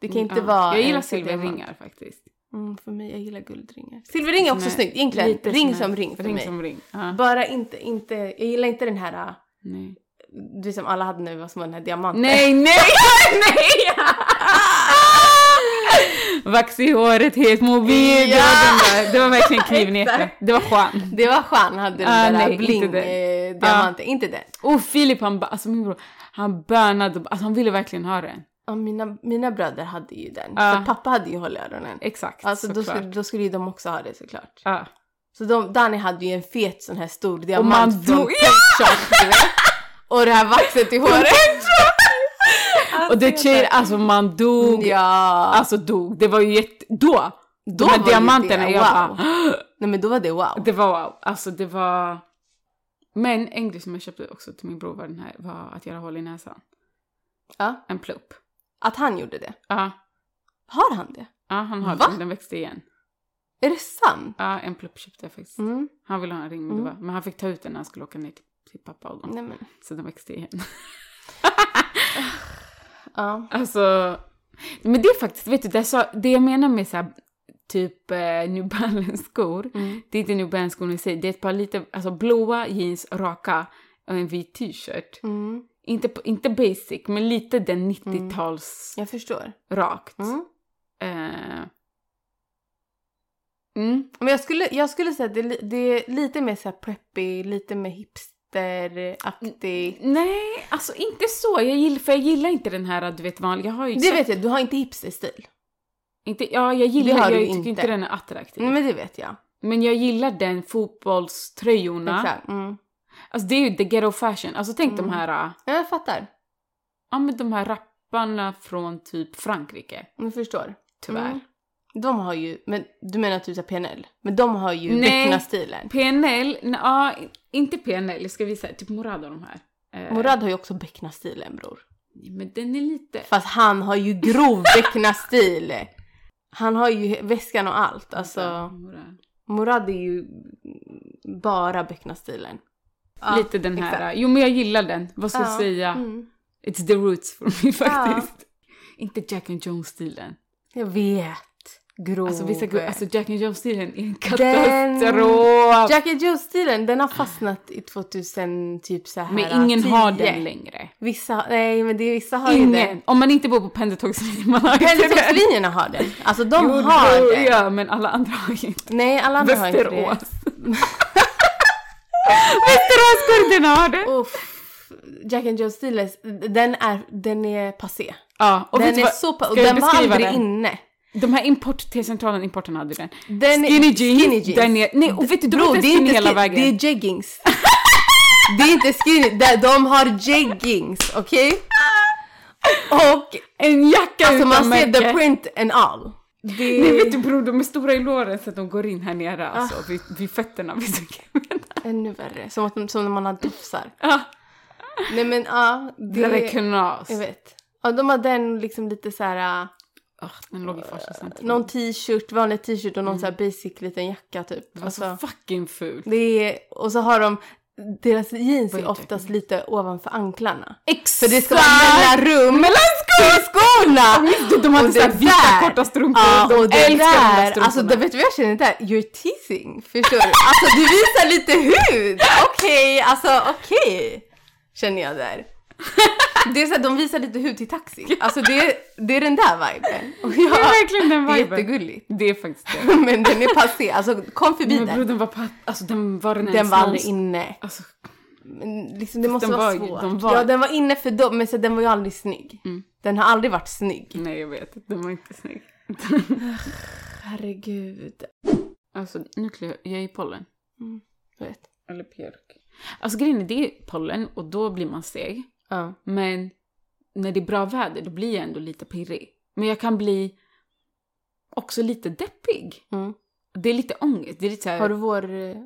S2: Det kan inte
S1: Mm, ja.
S2: vara...
S1: Jag gillar
S2: en diamant.
S1: silverringar faktiskt.
S2: Mm, för mig, jag gillar guldringar. Silverring är också
S1: Nej,
S2: snyggt egentligen.
S1: lite
S2: Ring
S1: här-
S2: som ring för
S1: ring
S2: mig.
S1: som ring. Ja.
S2: Bara inte, inte, jag gillar inte den här, äh,
S1: Nej.
S2: du som alla hade när vi var små, den här diamanten.
S1: Nej, nej, *laughs*
S2: *laughs*
S1: nej! Vax i håret, het mobil. Det, var den där. det var verkligen knivnätet.
S2: Exakt.
S1: Det var Juan.
S2: *laughs* Det var Jean hade den
S1: Ah,
S2: där
S1: nej, inte
S2: bling
S1: den. Ah.
S2: eh, diamanten, inte den.
S1: Och Oh, Filip, han, ba- alltså min bror, han bönade. Alltså han ville verkligen ha den.
S2: Ja, mina, mina bröder hade ju den.
S1: Ja.
S2: För pappa hade ju hål i öronen.
S1: Exakt,
S2: Alltså då
S1: såklart.
S2: skulle, då skulle ju de också ha det såklart.
S1: Ja.
S2: Så de, Danny hade ju en fet sån här stor
S1: Och
S2: diamant
S1: man dog.
S2: från Shop, du vet. Och det här
S1: *laughs*
S2: vaxet i håret.
S1: Och det tjejer, alltså man dog.
S2: Ja.
S1: Alltså dog. Det var ju jätte... Då! de
S2: Då
S1: här
S2: var ju
S1: diamanterna,
S2: det,
S1: jag
S2: wow.
S1: bara... *gasps*
S2: Nej men då var det wow.
S1: Det var wow. Alltså det var... Men en grej som jag köpte också till min bror var, den här, var att göra hål i näsan.
S2: Ja.
S1: En plupp.
S2: Att han gjorde det.
S1: Ja,
S2: Har han det?
S1: ja han har
S2: Va?
S1: den. Den växte igen.
S2: Är det sant?
S1: Ja, en plupp köpte jag faktiskt.
S2: Mm.
S1: Han ville ha en ring, men, det
S2: Mm.
S1: var, men han fick ta ut den när han skulle åka ner till till pappaögon.
S2: Nej men.
S1: Så den växte igen.
S2: Ja.
S1: Alltså, men det är faktiskt, vet du, det, är så, det jag menar med så här, typ eh, New Balance-skor,
S2: Mm.
S1: det är inte New Balance-skor i sig, det är ett par lite, alltså blåa jeans, raka och en vit t-shirt.
S2: Mm.
S1: Inte, på- inte basic, men lite den 90-tals
S2: Jag förstår.
S1: rakt.
S2: Mm.
S1: Eh, mm.
S2: Men jag skulle, jag skulle säga att det, är li- det är lite mer så här preppy, lite mer
S1: Mm.
S2: hipsteraktig.
S1: Nej, alltså inte så. Jag gillar, för jag gillar inte den här, du vet, vanliga. Jag har ju
S2: Det vet jag, du har inte hipsterstil.
S1: inte, ja, jag gillar,
S2: Det har
S1: jag
S2: du
S1: tycker
S2: inte.
S1: inte. den är attraktiv.
S2: Nej men det vet jag.
S1: Men jag gillar den fotbollströjorna.
S2: Exakt. Mm.
S1: Alltså det är ju the ghetto fashion. Alltså tänk de
S2: Mm.
S1: här, äh,
S2: Ja, jag fattar.
S1: ja men de här rapparna från typ Frankrike,
S2: Jag förstår.
S1: tyvärr.
S2: Mm. De har ju, men du menar typ så här PNL? Men de har ju
S1: Nej.
S2: becknarstilen.
S1: PNL, nej, ja, inte PNL, jag ska visa, typ Morad och de här. Eh,
S2: Morad har ju också becknarstilen bror.
S1: Men den är lite...
S2: Fast han har ju
S1: *laughs*
S2: grov becknarstil. Han har ju väskan och allt.
S1: Ja,
S2: Alltså,
S1: Morad.
S2: Morad är ju bara becknarstilen. Ja,
S1: lite den här,
S2: exakt.
S1: äh, jo men jag gillar den, vad ska jag
S2: Ja,
S1: säga?
S2: Mm.
S1: It's the roots för mig faktiskt. Inte Jack and Jones-stilen.
S2: Jag vet. Grov.
S1: Alltså, vissa, gru- alltså Jack and Jones-stilen är en
S2: Den-
S1: katastrof!
S2: Jack and Joe-stilen, den har fastnat i 2000, typ så här.
S1: Men ingen har
S2: 10.
S1: den längre.
S2: Vissa, nej men det är vissa har ju den.
S1: Ingen! Om man inte bor på pendeltågslinjen,
S2: *laughs*
S1: man har inte den.
S2: Pendeltågslinjerna har den. Alltså de
S1: Jo,
S2: har
S1: jo,
S2: den.
S1: Ja, men alla andra har ju inte.
S2: Nej, alla andra har inte det.
S1: *laughs* Västerås. Västeråskurderna har det!
S2: Uff, Jack and Joe Steelers, den är, den är passé.
S1: Ja, och vet
S2: den
S1: du
S2: är
S1: vad?
S2: så pa- och
S1: Ska jag
S2: den var
S1: beskriva
S2: aldrig
S1: den?
S2: inne.
S1: De här import, T-centralen importen hade den.
S2: Den är-
S1: Skinny jeans,
S2: skinny jeans.
S1: där nere. Nej, och vet du, de
S2: Bro,
S1: har
S2: det
S1: inte
S2: är
S1: skinny
S2: inte
S1: hela
S2: skin,
S1: vägen.
S2: det
S1: *laughs*
S2: är jeggings. det är inte skinny, de- de har jeggings, okej? Och
S1: En jacka
S2: alltså
S1: utan
S2: man ser
S1: märke.
S2: the print and all. Det,
S1: Nej vet du bror, de är stora i låren så att de går in här
S2: Ah.
S1: nere alltså, vid, vid fötterna. Vid
S2: Ännu värre, som, att, som när man har dofsar.
S1: ah,
S2: Nej men ja,
S1: det där är
S2: det,
S1: knas.
S2: jag vet. Ja, de har den liksom lite så här.
S1: Ah, den låg i farstans centrum.
S2: Någon t-shirt, vanlig t-shirt och någon så här basic liten jacka typ.
S1: Det var så
S2: Alltså,
S1: fucking fult.
S2: det är, och så har de, deras jeans
S1: Vad
S2: är
S1: heter
S2: oftast lite ovanför anklarna.
S1: Exakt!
S2: För det ska vara mellanrum mellan skorna!
S1: De, de hade
S2: Och
S1: såhär
S2: det
S1: vita
S2: där-
S1: korta strumpor.
S2: Ja,
S1: de
S2: och det
S1: älskar de
S2: där,
S1: strumporna. *laughs*
S2: alltså det, vet du vad jag känner där? You're teasing, förstår du? Alltså du visar lite hud! Okej, alltså okej, känner jag där. Det är såhär, de visar lite hud till taxi. Alltså det, är- det är den där viben. Och
S1: Det
S2: jag,
S1: är verkligen den
S2: det är
S1: *laughs* viben.
S2: jättegulligt.
S1: Det är faktiskt det.
S2: Men den är passé, alltså kom förbi
S1: Men bror,
S2: den.
S1: den var på, alltså den var den
S2: Den var aldrig inne.
S1: Alltså,
S2: Men liksom, det måste
S1: den
S2: vara
S1: var ju-
S2: svårt.
S1: den var- Mm.
S2: Ja, den var inne för dem, men så, den var ju aldrig snygg. Den har aldrig varit snygg.
S1: nej jag vet, den var inte snygg.
S2: Herregud.
S1: Alltså nu klär jag, jag i pollen.
S2: Jag vet.
S1: Eller björk. Alltså grejen är, det är pollen och då blir man seg.
S2: Ja.
S1: Men när det är bra väder då blir jag ändå lite pirrig. Men jag kan bli också lite deppig.
S2: Mm.
S1: Det är lite ångest. Det är lite så här,
S2: Har du vår... eh,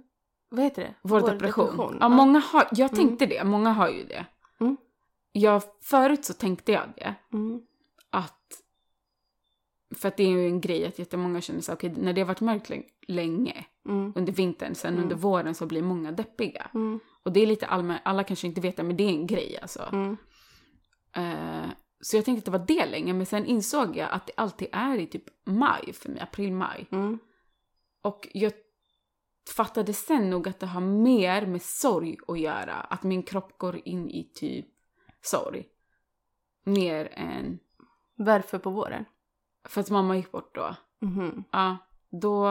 S2: Vad heter det?
S1: vår depression. Ja, många har, jag tänkte det. Många har ju det.
S2: Mm.
S1: Jag, förut så tänkte jag det.
S2: Mm.
S1: Att... För att det är ju en grej att jättemånga känner så här, okej, när det har varit mörkt lä- länge
S2: Mm.
S1: under vintern, sen
S2: Mm.
S1: under våren så blir många deppiga.
S2: Mm.
S1: Och det är lite allmänt, alla kanske inte vet det, men det är en grej alltså.
S2: Mm.
S1: Eh, så jag tänkte att det var det länge, men sen insåg jag att det alltid är i typ maj för mig, april-maj.
S2: Mm.
S1: Och jag fattade sen nog att det har mer med sorg att göra. Att min kropp går in i typ sorg. Mer än...
S2: Varför på våren?
S1: För att mamma gick bort då.
S2: Mhm.
S1: Ja, då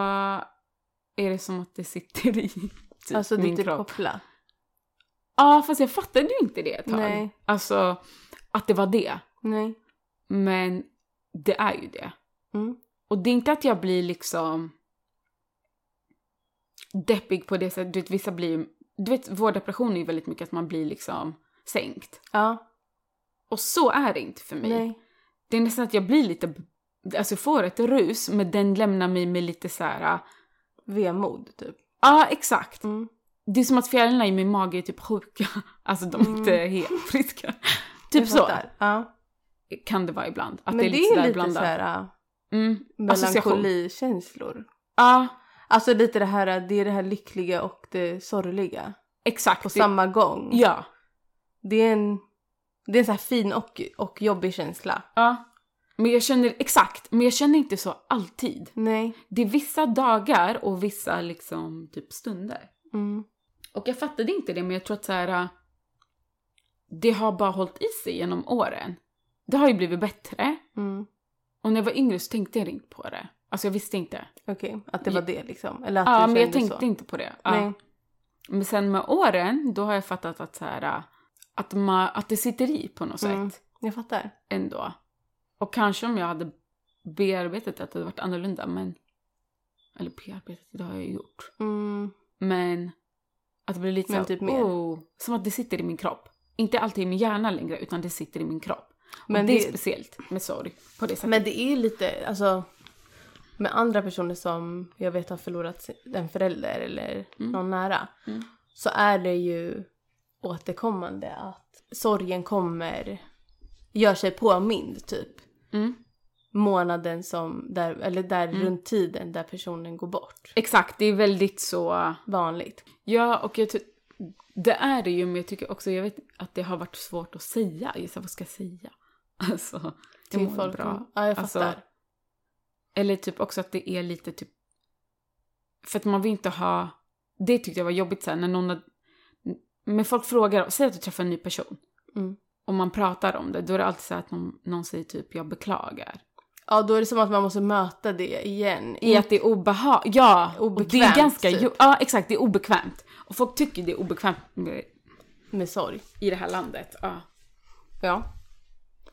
S1: är det som att det sitter i *laughs* typ
S2: Alltså du
S1: min
S2: inte
S1: kropp.
S2: koppla.
S1: Ja, fast jag fattade ju inte det ett tag.
S2: Nej.
S1: Alltså, att det var det.
S2: Nej.
S1: Men det är ju det.
S2: Mm.
S1: Och det är inte att jag blir liksom deppig på det sättet. Du vet, vissa blir ju- Du vet, vår depression är ju väldigt mycket att man blir liksom sänkt.
S2: Ja.
S1: Och så är det inte för mig.
S2: Nej.
S1: Det är nästan att jag blir lite... Alltså jag får ett rus, men den lämnar mig med lite så här... Ja,
S2: Vemod typ.
S1: ah, exakt.
S2: Mm.
S1: Det är som att fjärilarna i min mage är typ sjuka. *laughs* Alltså de är
S2: Mm.
S1: inte
S2: *laughs*
S1: helt friska.
S2: Jag
S1: Typ så
S2: fattar. Ja.
S1: kan det vara ibland. Att
S2: Men
S1: det är lite, sådär
S2: lite
S1: blandat.
S2: så här ah,
S1: mm. Association.
S2: melankolikänslor.
S1: Ja,
S2: äh, Alltså lite det här, det är det här lyckliga och det sorgliga.
S1: Exakt.
S2: på samma gång.
S1: Ja.
S2: Det är en, det är en så här fin och, och jobbig känsla.
S1: ja. Men jag känner, exakt, men jag känner inte så alltid.
S2: Nej.
S1: Det är vissa dagar och vissa liksom typ stunder.
S2: Mm.
S1: Och jag fattade inte det, men jag tror att så här, äh, det har bara hållit i sig genom åren. Det har ju blivit bättre.
S2: Mm.
S1: Och när jag var yngre så tänkte jag inte på det. Alltså jag visste inte.
S2: Okej, att det var det liksom. Eller att
S1: Ja,
S2: du
S1: men jag
S2: kände
S1: tänkte
S2: så.
S1: inte på det. Ja.
S2: Nej.
S1: Men sen med åren, då har jag fattat att så här, äh, att, ma- att det sitter i på något
S2: Mm.
S1: sätt
S2: Jag fattar.
S1: ändå. Och kanske om jag hade bearbetat det, att det hade varit annorlunda, men... Eller bearbetat, det har jag ju gjort.
S2: Mm.
S1: Men att det blir lite
S2: Men
S1: så här,
S2: typ mer.
S1: Oh, som att det sitter i min kropp. Inte alltid i min hjärna längre, utan det sitter i min kropp. Men
S2: Men
S1: och det, är
S2: det-
S1: speciellt med sorg på det sättet.
S2: Men det är ju lite, alltså med andra personer som jag vet har förlorat sin- en förälder eller någon nära
S1: Mm.
S2: så är det ju återkommande att sorgen kommer, gör sig påmind typ
S1: Mm.
S2: månaden som, där, eller där runt tiden där personen går bort.
S1: Exakt, det är väldigt så...
S2: Vanligt.
S1: Ja, och jag ty- det är det ju, men jag tycker också jag vet att det har varit svårt att säga. Just så här, vad ska jag säga? *laughs* Alltså, jag mår bra.
S2: Ja, jag
S1: Alltså,
S2: fattar.
S1: Eller typ också att det är lite typ... För att man vill inte ha... Det tyckte jag var jobbigt så här, när någon... Har... Men folk frågar, säg att du träffar en ny person.
S2: Mm.
S1: Och man pratar om det, då är det alltid så här att någon, någon säger typ jag beklagar. Mm.
S2: Ja, då är det som att man måste möta det igen.
S1: I att det är obehagligt. Ja, och det är
S2: Obekvämt,
S1: ganska...
S2: typ.
S1: jo- Ja, exakt, det är obekvämt. Och folk tycker det är obekvämt med,
S2: Med sorg.
S1: i det här landet. Ja.
S2: Ja.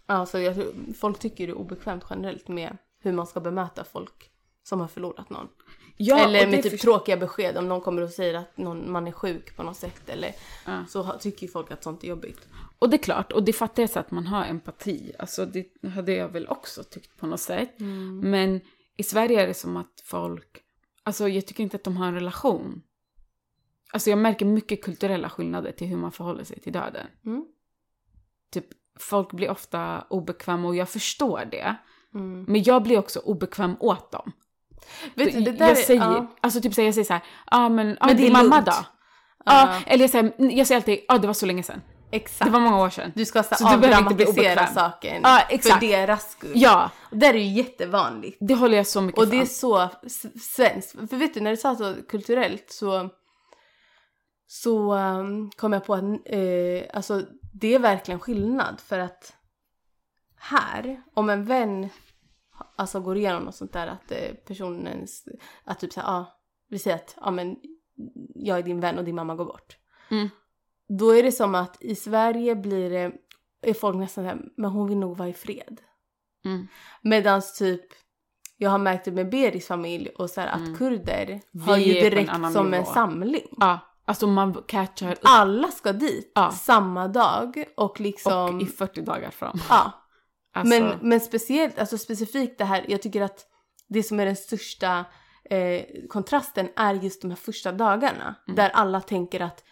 S2: Alltså, jag tror, folk tycker det är obekvämt generellt med hur man ska bemöta folk som har förlorat någon.
S1: Ja,
S2: eller
S1: och det
S2: med typ
S1: förstår-
S2: tråkiga besked om någon kommer och säger att någon, man är sjuk på något sätt eller
S1: Ja.
S2: så ha- tycker ju folk att sånt är jobbigt.
S1: Och det är klart, och det fattar jag så att man har empati. Alltså det hade jag väl också tyckt på något sätt.
S2: Mm.
S1: Men i Sverige är det som att folk... Alltså jag tycker inte att de har en relation. Alltså jag märker mycket kulturella skillnader till hur man förhåller sig till döden.
S2: Mm.
S1: Typ, folk blir ofta obekväma och jag förstår det. Men jag blir också obekväm åt dem.
S2: Mm. Vet du, det där
S1: jag
S2: är-
S1: säger,
S2: ja.
S1: alltså typ säger jag säger så här, ah, men, ah,
S2: Men det
S1: din
S2: är
S1: mamma
S2: lugnt.
S1: då? Ah, eller jag säger, jag säger alltid, ah, det var så länge sedan.
S2: Exakt.
S1: Det var många år sedan.
S2: Du ska så
S1: Så du behöver inte bli
S2: avdramatisera
S1: obekväm.
S2: saken
S1: Ja, exakt.
S2: för deras skull.
S1: Ja,
S2: Och Det där är ju jättevanligt.
S1: det håller jag så mycket
S2: Och det är
S1: för.
S2: så s- svenskt. För vet du, när du sa så kulturellt så, så um, kom jag på att eh, alltså, det är verkligen skillnad för att här, om en vän alltså, går igenom något sånt där att eh, personens, att typ såhär, ah, vi säger att ah, men, jag är din vän och din mamma går bort.
S1: Mm.
S2: Då är det som att i Sverige blir det, är folk nästan såhär, men hon vill nog vara i fred.
S1: Mm.
S2: Medans typ, jag har märkt det med Beris familj och så här att kurder har
S1: Mm. Vi
S2: ju
S1: är på en
S2: direkt
S1: annan
S2: som en
S1: nivå.
S2: samling.
S1: Ja, alltså man catchar upp
S2: Alla ska dit
S1: Ja.
S2: samma dag och liksom...
S1: och i 40 dagar fram.
S2: ja.
S1: Alltså,
S2: Men, men speciellt, alltså specifikt det här, jag tycker att det som är den största eh, kontrasten är just de här första dagarna.
S1: Mm.
S2: Där alla tänker att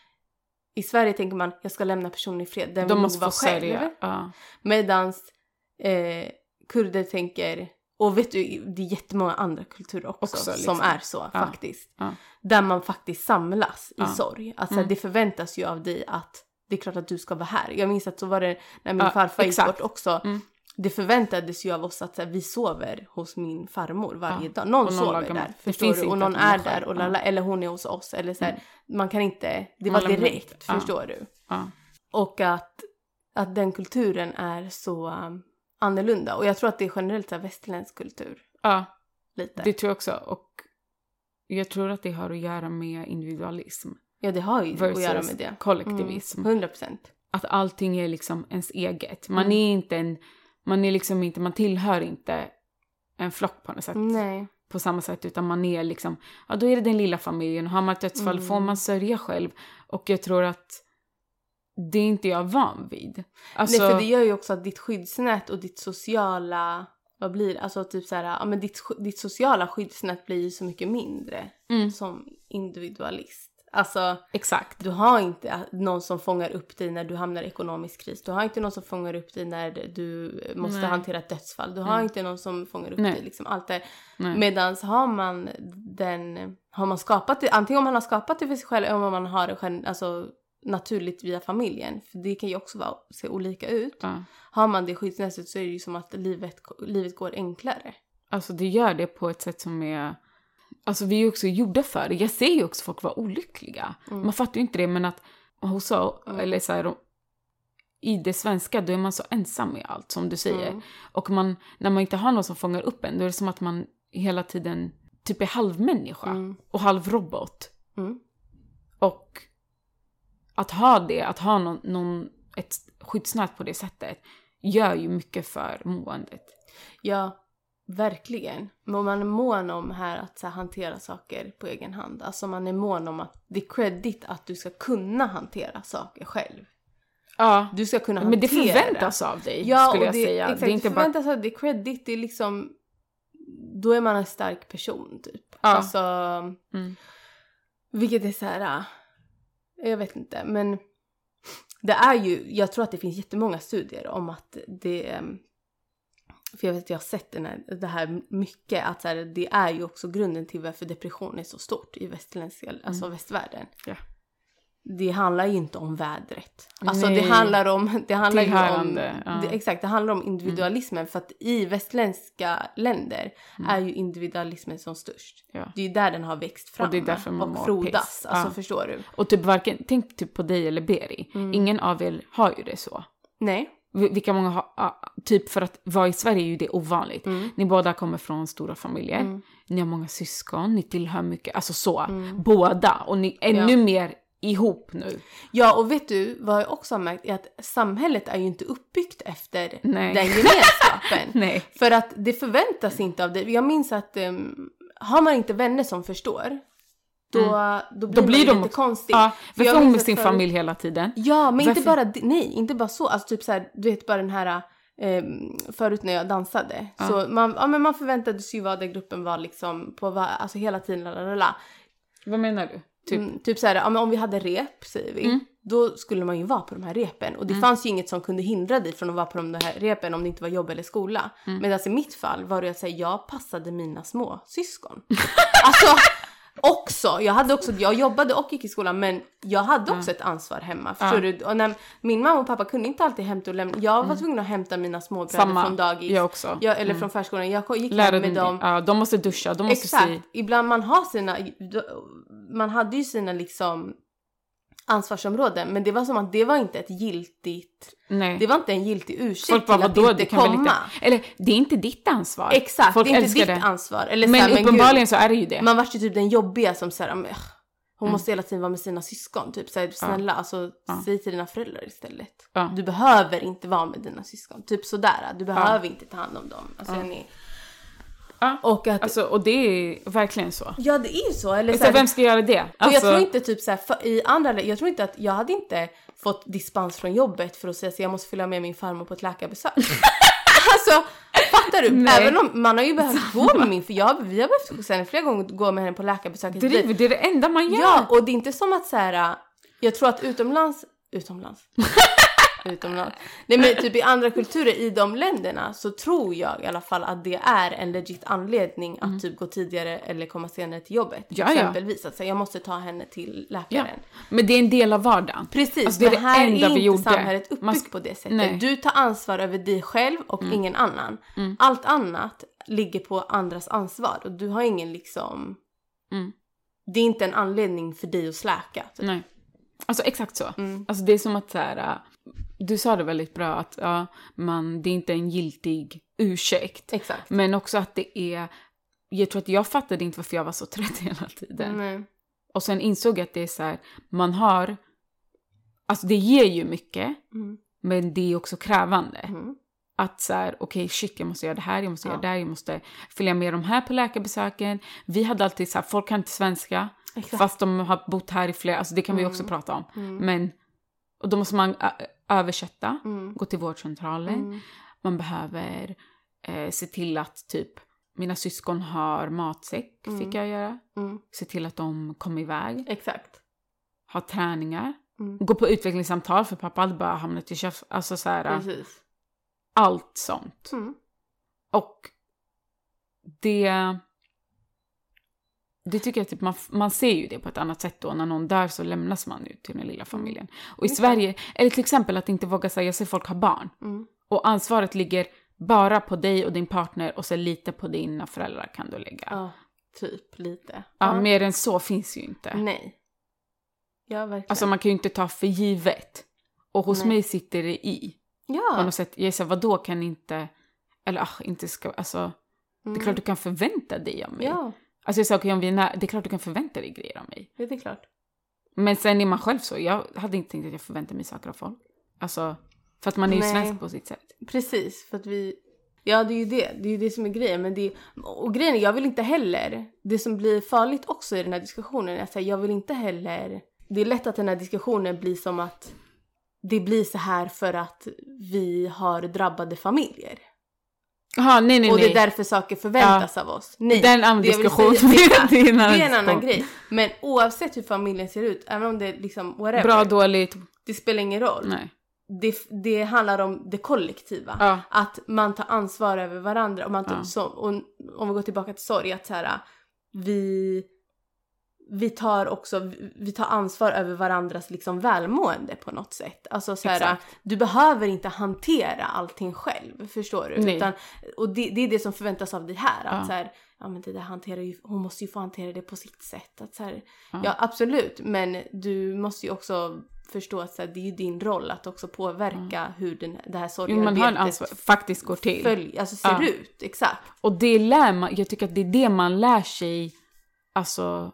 S2: i Sverige tänker man jag ska lämna personen i fred, den vill
S1: de
S2: nog
S1: måste
S2: vara
S1: få
S2: själv.
S1: sörja. Ja.
S2: Medans eh, kurder tänker, och vet du, det är jättemånga andra kulturer också,
S1: Också, liksom.
S2: som är så
S1: Ja,
S2: faktiskt.
S1: ja.
S2: Där man faktiskt samlas i
S1: Ja.
S2: sorg. Alltså
S1: Mm.
S2: det förväntas ju av dig att det är klart att du ska vara här. Jag minns att så var det när min
S1: Ja,
S2: farfar gick
S1: exakt.
S2: bort också.
S1: Mm.
S2: Det förväntades ju av oss att så här, vi sover hos min farmor varje
S1: Ja,
S2: dag. Någon,
S1: och någon
S2: sover
S1: lagar mat.
S2: där,
S1: Det
S2: förstår
S1: finns
S2: du? Och
S1: inte
S2: någon
S1: att man
S2: är
S1: själv-
S2: där, och lala, eller hon är hos oss. Eller så här, Man kan inte, det
S1: Man
S2: var
S1: lämnar ut.
S2: direkt,
S1: Mm. Ja.
S2: förstår du?
S1: Ja.
S2: Och att, att den kulturen är så um, annorlunda. Och jag tror att det är generellt så här västerländsk kultur.
S1: ja,
S2: Lite.
S1: det tror jag också. Och jag tror att det har att göra med individualism
S2: ja, det har ju
S1: versus
S2: att göra med det.
S1: kollektivism.
S2: 100 procent.
S1: Att allting är liksom ens eget. Man
S2: Mm.
S1: är inte en, man är liksom inte, man tillhör inte en flock på något sätt.
S2: Nej.
S1: på samma sätt utan man är liksom, ja då är det den lilla familjen och har man ett dödsfall
S2: Mm.
S1: får man sörja själv. Och jag tror att det är inte jag van vid. Alltså,
S2: Nej, för det gör ju också att ditt skyddsnät och ditt sociala... Vad blir det? Alltså typ så här, ja, men ditt, sk- ditt sociala skyddsnät blir ju så mycket mindre
S1: Mm.
S2: som individualist. Alltså,
S1: Exakt.
S2: du har inte någon som fångar upp dig när du hamnar i ekonomisk kris. Du har inte någon som fångar upp dig när du måste
S1: Nej.
S2: hantera ett dödsfall. Du har
S1: Nej.
S2: inte någon som fångar upp
S1: Nej.
S2: dig. Liksom, allt det.
S1: Nej.
S2: Medan har man den, har man skapat det, antingen om man har skapat det för sig själv eller om man har det själv, alltså, naturligt via familjen. För det kan ju också vara, se olika ut.
S1: Ja.
S2: Har man det skyddsnätet så är det ju som att livet, livet går enklare.
S1: Alltså det gör det på ett sätt som är... Alltså vi är ju också gjorda för det. Jag ser ju också folk vara olyckliga.
S2: Mm.
S1: Man fattar ju inte det men att hos oss,
S2: Mm.
S1: eller så här, i det svenska då är man så ensam i allt som du säger.
S2: Mm.
S1: Och man, när man inte har någon som fångar upp en då är det som att man hela tiden typ är halvmänniska
S2: Mm.
S1: och halvrobot.
S2: Mm.
S1: Och att ha det, att ha någon, någon, ett skyddsnät på det sättet gör ju mycket för måendet.
S2: Ja, verkligen. Men man är mån om här att så här, hantera saker på egen hand. Alltså man är mån om att det är credit att du ska kunna hantera saker själv.
S1: Ja,
S2: Du ska kunna hantera.
S1: men det förväntas av dig
S2: ja,
S1: skulle
S2: och
S1: jag
S2: det,
S1: säga.
S2: Exakt,
S1: det är inte bara...
S2: förväntas att det är credit. Det är liksom, då är man en stark person typ.
S1: Ja.
S2: Alltså,
S1: Mm.
S2: vilket är så här, ah, jag vet inte. Men det är ju, jag tror att det finns jättemånga studier om att det ehm, för jag vet att jag har sett den här, det här mycket, att så här, det är ju också grunden till varför depression är så stort i
S1: Mm.
S2: västerländska, alltså västvärlden.
S1: Ja.
S2: Det handlar ju inte om vädret. Alltså det
S1: Nej.
S2: handlar om, det handlar ju om,
S1: Tillhörande, ja.
S2: det, exakt, det handlar om individualismen för att i västländska länder
S1: Mm.
S2: är ju individualismen som störst.
S1: Ja.
S2: Det är ju där den har växt fram
S1: Och det är därför man mår
S2: och frodas,
S1: piss.
S2: alltså
S1: Ja.
S2: förstår du?
S1: Och typ varken, tänk typ på dig eller Beri.
S2: Mm.
S1: Ingen av er har ju det så.
S2: Nej.
S1: Vi- Vilka många har, ja, typ för att vara i Sverige är ju det ovanligt.
S2: Mm.
S1: Ni båda kommer från stora familjer, ni har många syskon, ni tillhör mycket, alltså så.
S2: Mm.
S1: Båda. Och ni är ännu mer ihop nu.
S2: *laughs* Ja, och vet du vad jag också har märkt är att samhället är ju inte uppbyggt efter
S1: Nej.
S2: den gemenskapen.
S1: *laughs* Nej.
S2: För att det förväntas inte av dig. Jag minns att ehm, har man inte vänner som förstår, då, då blir,
S1: Mm. Då blir
S2: man
S1: de
S2: lite
S1: också-
S2: konstig.
S1: Ja,
S2: För
S1: för
S2: jag
S1: hon
S2: minns
S1: med
S2: att
S1: sin
S2: förut-
S1: familj hela tiden.
S2: Ja, men inte
S1: Varför-
S2: bara, det- nej, inte bara så. Alltså typ så här, du vet bara den här, ehm, förut när jag dansade. Så man, ja, men man förväntades ju vara där gruppen var liksom på, va- alltså hela tiden, lalala.
S1: Vad menar du? Typ.
S2: Mm, typ så här, ja, men om vi hade rep säger vi.
S1: Mm.
S2: Då skulle man ju vara på de här repen. Och det fanns ju inget som kunde hindra dig från att vara på de här repen om det inte var jobb eller skola.
S1: Mm.
S2: Medan i mitt fall var det att säga, jag passade mina små
S1: *laughs*
S2: syskon. alltså också, jag hade också, jag jobbade och gick i skolan men jag hade
S1: Mm.
S2: också ett ansvar hemma. Förstår du? Och när, min mamma och pappa kunde inte alltid hämta och lämna. Jag var tvungen att hämta mina småbröder
S1: Mm. Samma.
S2: från dagis.
S1: Jag också. Mm.
S2: Jag, eller från förskolan. Jag gick
S1: Lära
S2: hem med dem.
S1: Ja, de måste duscha, de måste
S2: Exakt.
S1: se.
S2: Ibland man har sina, man hade ju sina liksom ansvarsområden men det var som att det var inte ett giltigt,
S1: Nej.
S2: det var inte en giltig ursäkt
S1: Folk bara,
S2: till att
S1: vadå,
S2: inte
S1: det kan väl
S2: komma.
S1: inte... Eller, det är inte ditt ansvar.
S2: Exakt,
S1: Folk
S2: det är inte
S1: älskar
S2: ditt
S1: det.
S2: ansvar. Eller så här,
S1: Men
S2: men
S1: uppenbarligen
S2: gud,
S1: så är det ju det.
S2: man vart ju typ den jobbiga som såhär, hon
S1: Mm.
S2: måste hela tiden vara med sina syskon. Typ såhär, snälla alltså säg till dina föräldrar istället.
S1: Ja.
S2: Du behöver inte vara med dina syskon. Typ sådär, du behöver inte ta hand om dem. Alltså, är ni-
S1: Ja.
S2: Och att,
S1: Alltså, och det är verkligen så.
S2: ja det är ju så. Eller
S1: så
S2: så här-
S1: vem ska göra det?
S2: Och
S1: Alltså,
S2: jag tror inte typ såhär, för, i andra lä- jag tror inte att jag hade inte fått dispens från jobbet för att säga så jag måste följa med min farmor på ett läkarbesök. *laughs* alltså fattar du?
S1: Nej.
S2: Även om man har ju behövt gå med min, för jag, vi har behövt sen flera gånger gå med henne på läkarbesök. hit och dit.
S1: driver, det är det enda man gör.
S2: Ja, och det är inte som att så här. äh, jag tror att utomlands,
S1: *laughs*
S2: utomlands, utomlands, nej men typ i andra kulturer i de länderna så tror jag i alla fall att det är en legit anledning att typ gå tidigare eller komma senare till jobbet.
S1: Mm. Ja, ja.
S2: Exempelvis att säga, jag måste ta henne till
S1: Ja.
S2: läkaren.
S1: Men det är en del av vardagen.
S2: Precis,
S1: Alltså, det är det
S2: här
S1: enda
S2: är
S1: vi
S2: inte
S1: gjorde.
S2: samhället uppbyggt
S1: Man sk-
S2: på det sättet.
S1: Nej. Mm.
S2: Du tar ansvar över dig själv och ingen annan. Allt annat ligger på andras ansvar och du har ingen liksom...
S1: Mm.
S2: Det är inte en anledning för dig att släka. Mm. typ.
S1: Nej. Alltså exakt så. Alltså det är som att så här, äh, du sa det väldigt bra att ja, man, det är inte en giltig ursäkt.
S2: Exakt.
S1: Men också att det är, jag tror att jag fattade inte varför jag var så trött *laughs* hela tiden.
S2: Nej.
S1: Och sen insåg jag att det är så här, man har, alltså det ger ju mycket,
S2: Mm.
S1: men det är också krävande.
S2: Mm.
S1: Att så här, okej shit jag måste göra det här, jag måste
S2: Ja.
S1: göra det här, jag måste följa med de här på läkarbesöken. Vi hade alltid så här, folk kan inte svenska,
S2: Exakt. Mm.
S1: fast de har bott här i flera, alltså det kan vi också prata om. Men, och då måste man ö- översätta,
S2: Mm.
S1: gå till vårdcentralen,
S2: Mm.
S1: man behöver eh, se till att typ mina syskon har matsäck,
S2: Mm.
S1: fick jag göra.
S2: Mm.
S1: Se till att de kom iväg.
S2: Exakt.
S1: ha träningar,
S2: Mm.
S1: gå på utvecklingssamtal för pappa hade bara hamnat i köps... Alltså så här,
S2: Precis.
S1: allt sånt.
S2: Mm.
S1: Och det... Det tycker jag typ, man, man ser ju det på ett annat sätt då. När någon dör så lämnas man ju till den lilla familjen. Och i
S2: Mm. Just det.
S1: Sverige, eller till exempel att inte våga säga, jag ser folk ha barn.
S2: Mm.
S1: Och ansvaret ligger bara på dig och din partner och så lite på dina föräldrar kan du lägga. Ja,
S2: Ja, typ lite.
S1: mer än så finns ju inte.
S2: Nej. Ja, verkligen.
S1: Alltså man kan ju inte ta för givet. Och hos
S2: Nej.
S1: mig sitter det i. På
S2: ja.
S1: något sätt, jag säger vadå kan inte, eller ah, inte ska, alltså
S2: Mm.
S1: det är klart du kan förvänta dig av mig.
S2: Ja,
S1: Alltså jag sa okej om vi är nära, det är klart du kan förvänta dig grejer av mig.
S2: det är klart.
S1: Men sen är man själv så, jag hade inte tänkt att jag förväntar mig saker av folk. Alltså, för att man är ju
S2: Nej.
S1: svensk på sitt sätt.
S2: Precis, för att vi... Ja, det är ju det. Det är ju det som är grejen. Men det är... Och grejen är, jag vill inte heller... Det som blir farligt också i den här diskussionen är att så här, jag vill inte heller... Det är lätt att den här diskussionen blir som att det blir så här för att vi har drabbade familjer.
S1: Jaha, nej nej
S2: och
S1: nej.
S2: det är därför saker förväntas av oss. Nej,
S1: Det är en annan
S2: det jag vill
S1: diskussion.
S2: säga-
S1: *laughs* Det är en annan
S2: det är en annan
S1: diskussion.
S2: grej. Men oavsett hur familjen ser ut, även om det är liksom whatever,
S1: Bra, dåligt,
S2: det spelar ingen roll.
S1: nej.
S2: det, det handlar om det kollektiva.
S1: Ja.
S2: Att man tar ansvar över varandra. Och man tar,
S1: Ja.
S2: så, och, om vi går tillbaka till sorg, att så här, vi, vi tar också vi tar ansvar över varandras liksom välmående på något sätt. Alltså så här,
S1: Exakt.
S2: du behöver inte hantera allting själv, förstår du?
S1: Nej.
S2: Utan, och det, det är det som förväntas av dig här. Att
S1: Ja.
S2: så här, ja men det där hanterar ju, hon måste ju få hantera det på sitt sätt. Att så här,
S1: Ja.
S2: Ja, absolut. Men du måste ju också förstå att så här, det är ju din roll att också påverka hur den, det här
S1: Mm. Jo, man har en ansvar,
S2: sorgearbetet
S1: faktiskt går till.
S2: följ, alltså ser
S1: Ja.
S2: ut. Exakt.
S1: Och det lär man, jag tycker att det är det man lär sig, alltså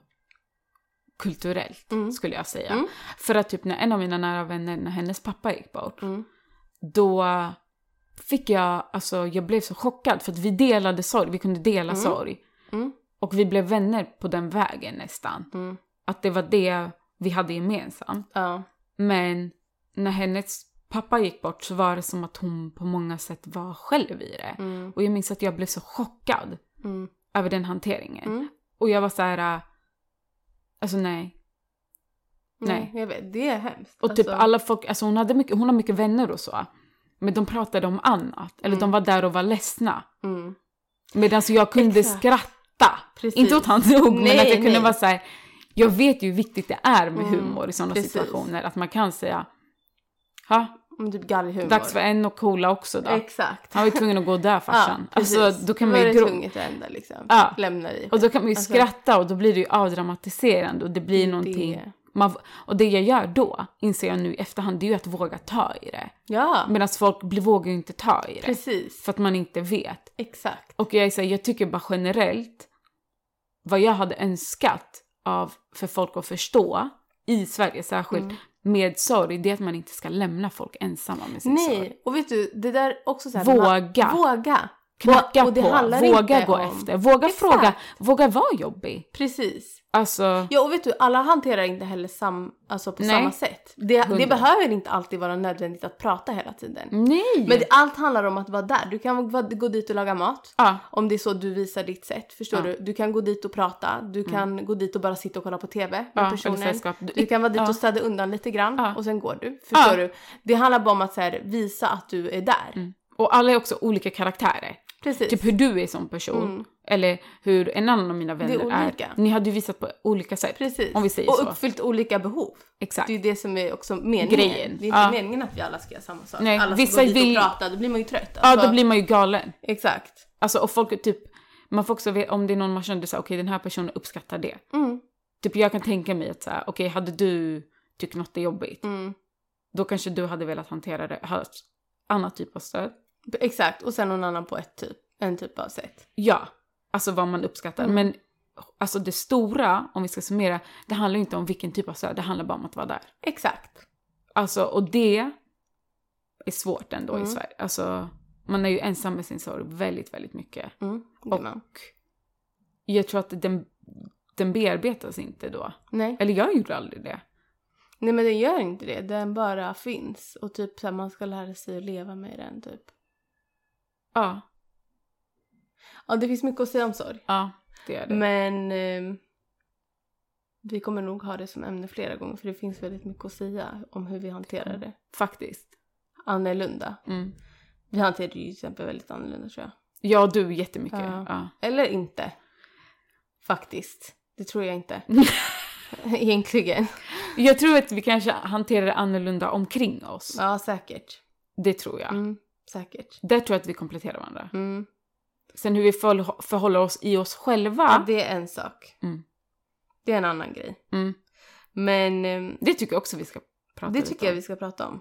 S1: kulturellt
S2: Mm.
S1: skulle jag säga.
S2: Mm.
S1: För att typ när en av mina nära vänner, när hennes pappa gick bort,
S2: Mm.
S1: då fick jag, alltså jag blev så chockad för att vi delade sorg, vi kunde dela
S2: Mm.
S1: sorg.
S2: Mm.
S1: Och vi blev vänner på den vägen nästan.
S2: Mm.
S1: Att det var det vi hade gemensamt.
S2: Ja.
S1: Men när hennes pappa gick bort så var det som att hon på många sätt var själv i det.
S2: Mm.
S1: Och jag minns att jag blev så chockad
S2: Mm.
S1: över den hanteringen.
S2: Mm.
S1: Och jag var så här, äh, alltså nej.
S2: Nej.
S1: Nej.
S2: jag vet. Det är hemskt.
S1: Och typ
S2: Alltså,
S1: alla folk, alltså hon, hade mycket, hon har mycket vänner och så. Men de pratade om annat. Eller
S2: Mm.
S1: de var där och var ledsna.
S2: Mm.
S1: Medan jag kunde
S2: Exakt.
S1: skratta.
S2: Precis.
S1: Inte åt hans ord, men
S2: Nej,
S1: att jag kunde
S2: nej.
S1: vara så här. Jag vet ju hur viktigt det är med
S2: Mm,
S1: humor i sådana
S2: precis.
S1: situationer. Att man kan säga, ha,
S2: Om typ galghumor.
S1: Dags för en och cola också då.
S2: Exakt.
S1: Han var ju tvungen att gå och dö
S2: *laughs*
S1: farsan.
S2: precis.
S1: alltså, då kan
S2: Det
S1: man
S2: var
S1: ju
S2: det
S1: gro-
S2: tvunget att ändå liksom.
S1: Ja.
S2: Lämna dig.
S1: Och då kan man ju
S2: Alltså-
S1: skratta och då blir det ju avdramatiserande och det blir
S2: Det-
S1: någonting. Man, och det jag gör då, inser jag nu i efterhand, det är ju att våga ta i det.
S2: Ja,
S1: Medan folk blir, vågar ju inte ta i det.
S2: precis.
S1: För att man inte vet.
S2: Exakt.
S1: Och jag är så här, jag tycker bara generellt, vad jag hade önskat av, för folk att förstå, i Sverige särskilt,
S2: Mm.
S1: med sorg, det är att man inte ska lämna folk ensamma med sin sorg.
S2: Nej, och vet du, det där också så här,
S1: Våga.
S2: Man, våga.
S1: knacka
S2: och, och det handlar
S1: på, våga
S2: inte
S1: gå
S2: om,
S1: efter, våga
S2: Exakt.
S1: fråga, våga vara jobbig.
S2: Precis.
S1: Alltså,
S2: Ja och vet du, alla hanterar inte heller sam, alltså på
S1: Nej.
S2: samma sätt. Det, det
S1: Hundra.
S2: behöver inte alltid vara nödvändigt att prata hela tiden.
S1: nej!
S2: Men det, allt handlar om att vara där. Du kan vara- gå dit och laga mat.
S1: ja,
S2: Om det är så du visar ditt sätt, förstår
S1: Ja. Mm.
S2: du? Du kan gå dit och prata, du kan gå dit och bara sitta och kolla på TV med
S1: ja, eller
S2: personen.
S1: sällskap. Du,
S2: Du kan vara dit
S1: Ja.
S2: och städa undan lite grann
S1: Ja.
S2: och sen går du. Förstår
S1: Ja.
S2: du? Det handlar bara om att så här, visa att du är där.
S1: Mm. Och alla är också olika karaktärer.
S2: Precis.
S1: Typ hur du är som person.
S2: Mm.
S1: Eller hur en annan av mina vänner
S2: Det är olika.
S1: Ni hade ju visat på olika sätt.
S2: Precis.
S1: Om vi säger
S2: och
S1: så.
S2: uppfyllt olika behov.
S1: Exakt.
S2: Det är ju det som är också meningen.
S1: Grejen.
S2: Det är inte
S1: Ja.
S2: meningen att vi alla ska göra samma sak.
S1: Nej,
S2: alla ska
S1: vissa
S2: gå dit
S1: vill-
S2: och prata, då blir man ju trött.
S1: Ja,
S2: Alltså,
S1: då blir man ju galen.
S2: Exakt.
S1: Alltså, och folk är typ... Man får också veta om det är någon man kände så här, okej den här personen uppskattar det.
S2: Mm,
S1: Typ jag kan tänka mig att så här, okej hade du tyckt något är jobbigt,
S2: mm.
S1: då kanske du hade velat hantera det, ha ett annat typ av stöd.
S2: Exakt. Och sen någon annan på ett typ, en typ av sätt.
S1: Ja, alltså vad man uppskattar.
S2: Mm.
S1: Men alltså det stora, om vi ska summera, det handlar ju inte om vilken typ av stöd, det handlar bara om att vara där.
S2: Exakt.
S1: Alltså, och det är svårt ändå i
S2: Mm.
S1: Sverige. Alltså, man är ju ensam med sin sorg väldigt, väldigt mycket.
S2: Mm, det är
S1: Och
S2: man.
S1: jag tror att den, den bearbetas inte då.
S2: Nej.
S1: Eller jag gjorde aldrig det.
S2: Nej men den gör inte det. Den bara finns. Och typ så här, man ska lära sig att leva med den typ.
S1: Ja,
S2: Ja det finns mycket att säga om sorg.
S1: ja, det gör det.
S2: Men eh, Vi kommer nog ha det som ämne flera gånger för det finns väldigt mycket att säga om hur vi hanterar det.
S1: Faktiskt.
S2: Annorlunda.
S1: Mm.
S2: Vi hanterar det ju till exempel väldigt annorlunda tror jag.
S1: Jag och du jättemycket.
S2: Ja.
S1: Ja.
S2: Eller inte. Faktiskt. Det tror jag *laughs* inte. Egentligen.
S1: Jag tror att vi kanske hanterar det annorlunda omkring oss.
S2: Ja, säkert.
S1: Det tror jag.
S2: Mm, säkert.
S1: Där tror jag att vi kompletterar varandra.
S2: Mm.
S1: Sen hur vi förhå- förhåller oss i oss själva,
S2: Ja, det är en sak.
S1: Mm.
S2: Det är en annan grej.
S1: Mm.
S2: Men ehm,
S1: det tycker jag också vi ska prata
S2: det
S1: lite
S2: tycker jag
S1: om.
S2: vi ska prata
S1: Mm,
S2: om.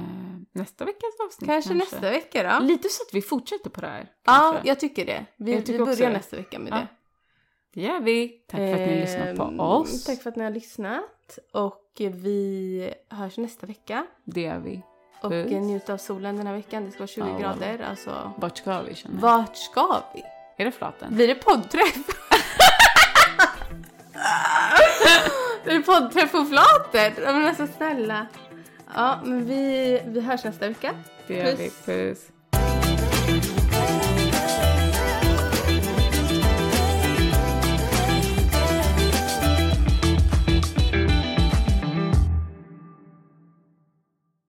S1: Eh, nästa veckas avsnitt
S2: Kanske, nästa vecka då.
S1: Lite så att vi fortsätter på det här.
S2: Ja,
S1: kanske.
S2: jag tycker det. Vi,
S1: Jag tycker
S2: vi
S1: också
S2: börjar
S1: det.
S2: nästa vecka med
S1: Ja.
S2: det.
S1: Det gör vi. Tack för att ni lyssnar
S2: Ehm,
S1: på oss.
S2: Tack för att ni har lyssnat. Och vi hörs nästa vecka.
S1: Det gör vi.
S2: Och
S1: Puss.
S2: eh, njut av solen den här veckan. Det ska vara 20
S1: Ja.
S2: grader. Alltså,
S1: Vart ska vi känner jag?
S2: vart ska vi?
S1: Är det flaten?
S2: Blir
S1: *laughs*
S2: det poddträff? Blir det poddträff på flaten? Ja, Men alltså snälla. Ja, men vi, vi hörs nästa vecka.
S1: Det gör vi.
S2: Puss.
S1: Puss.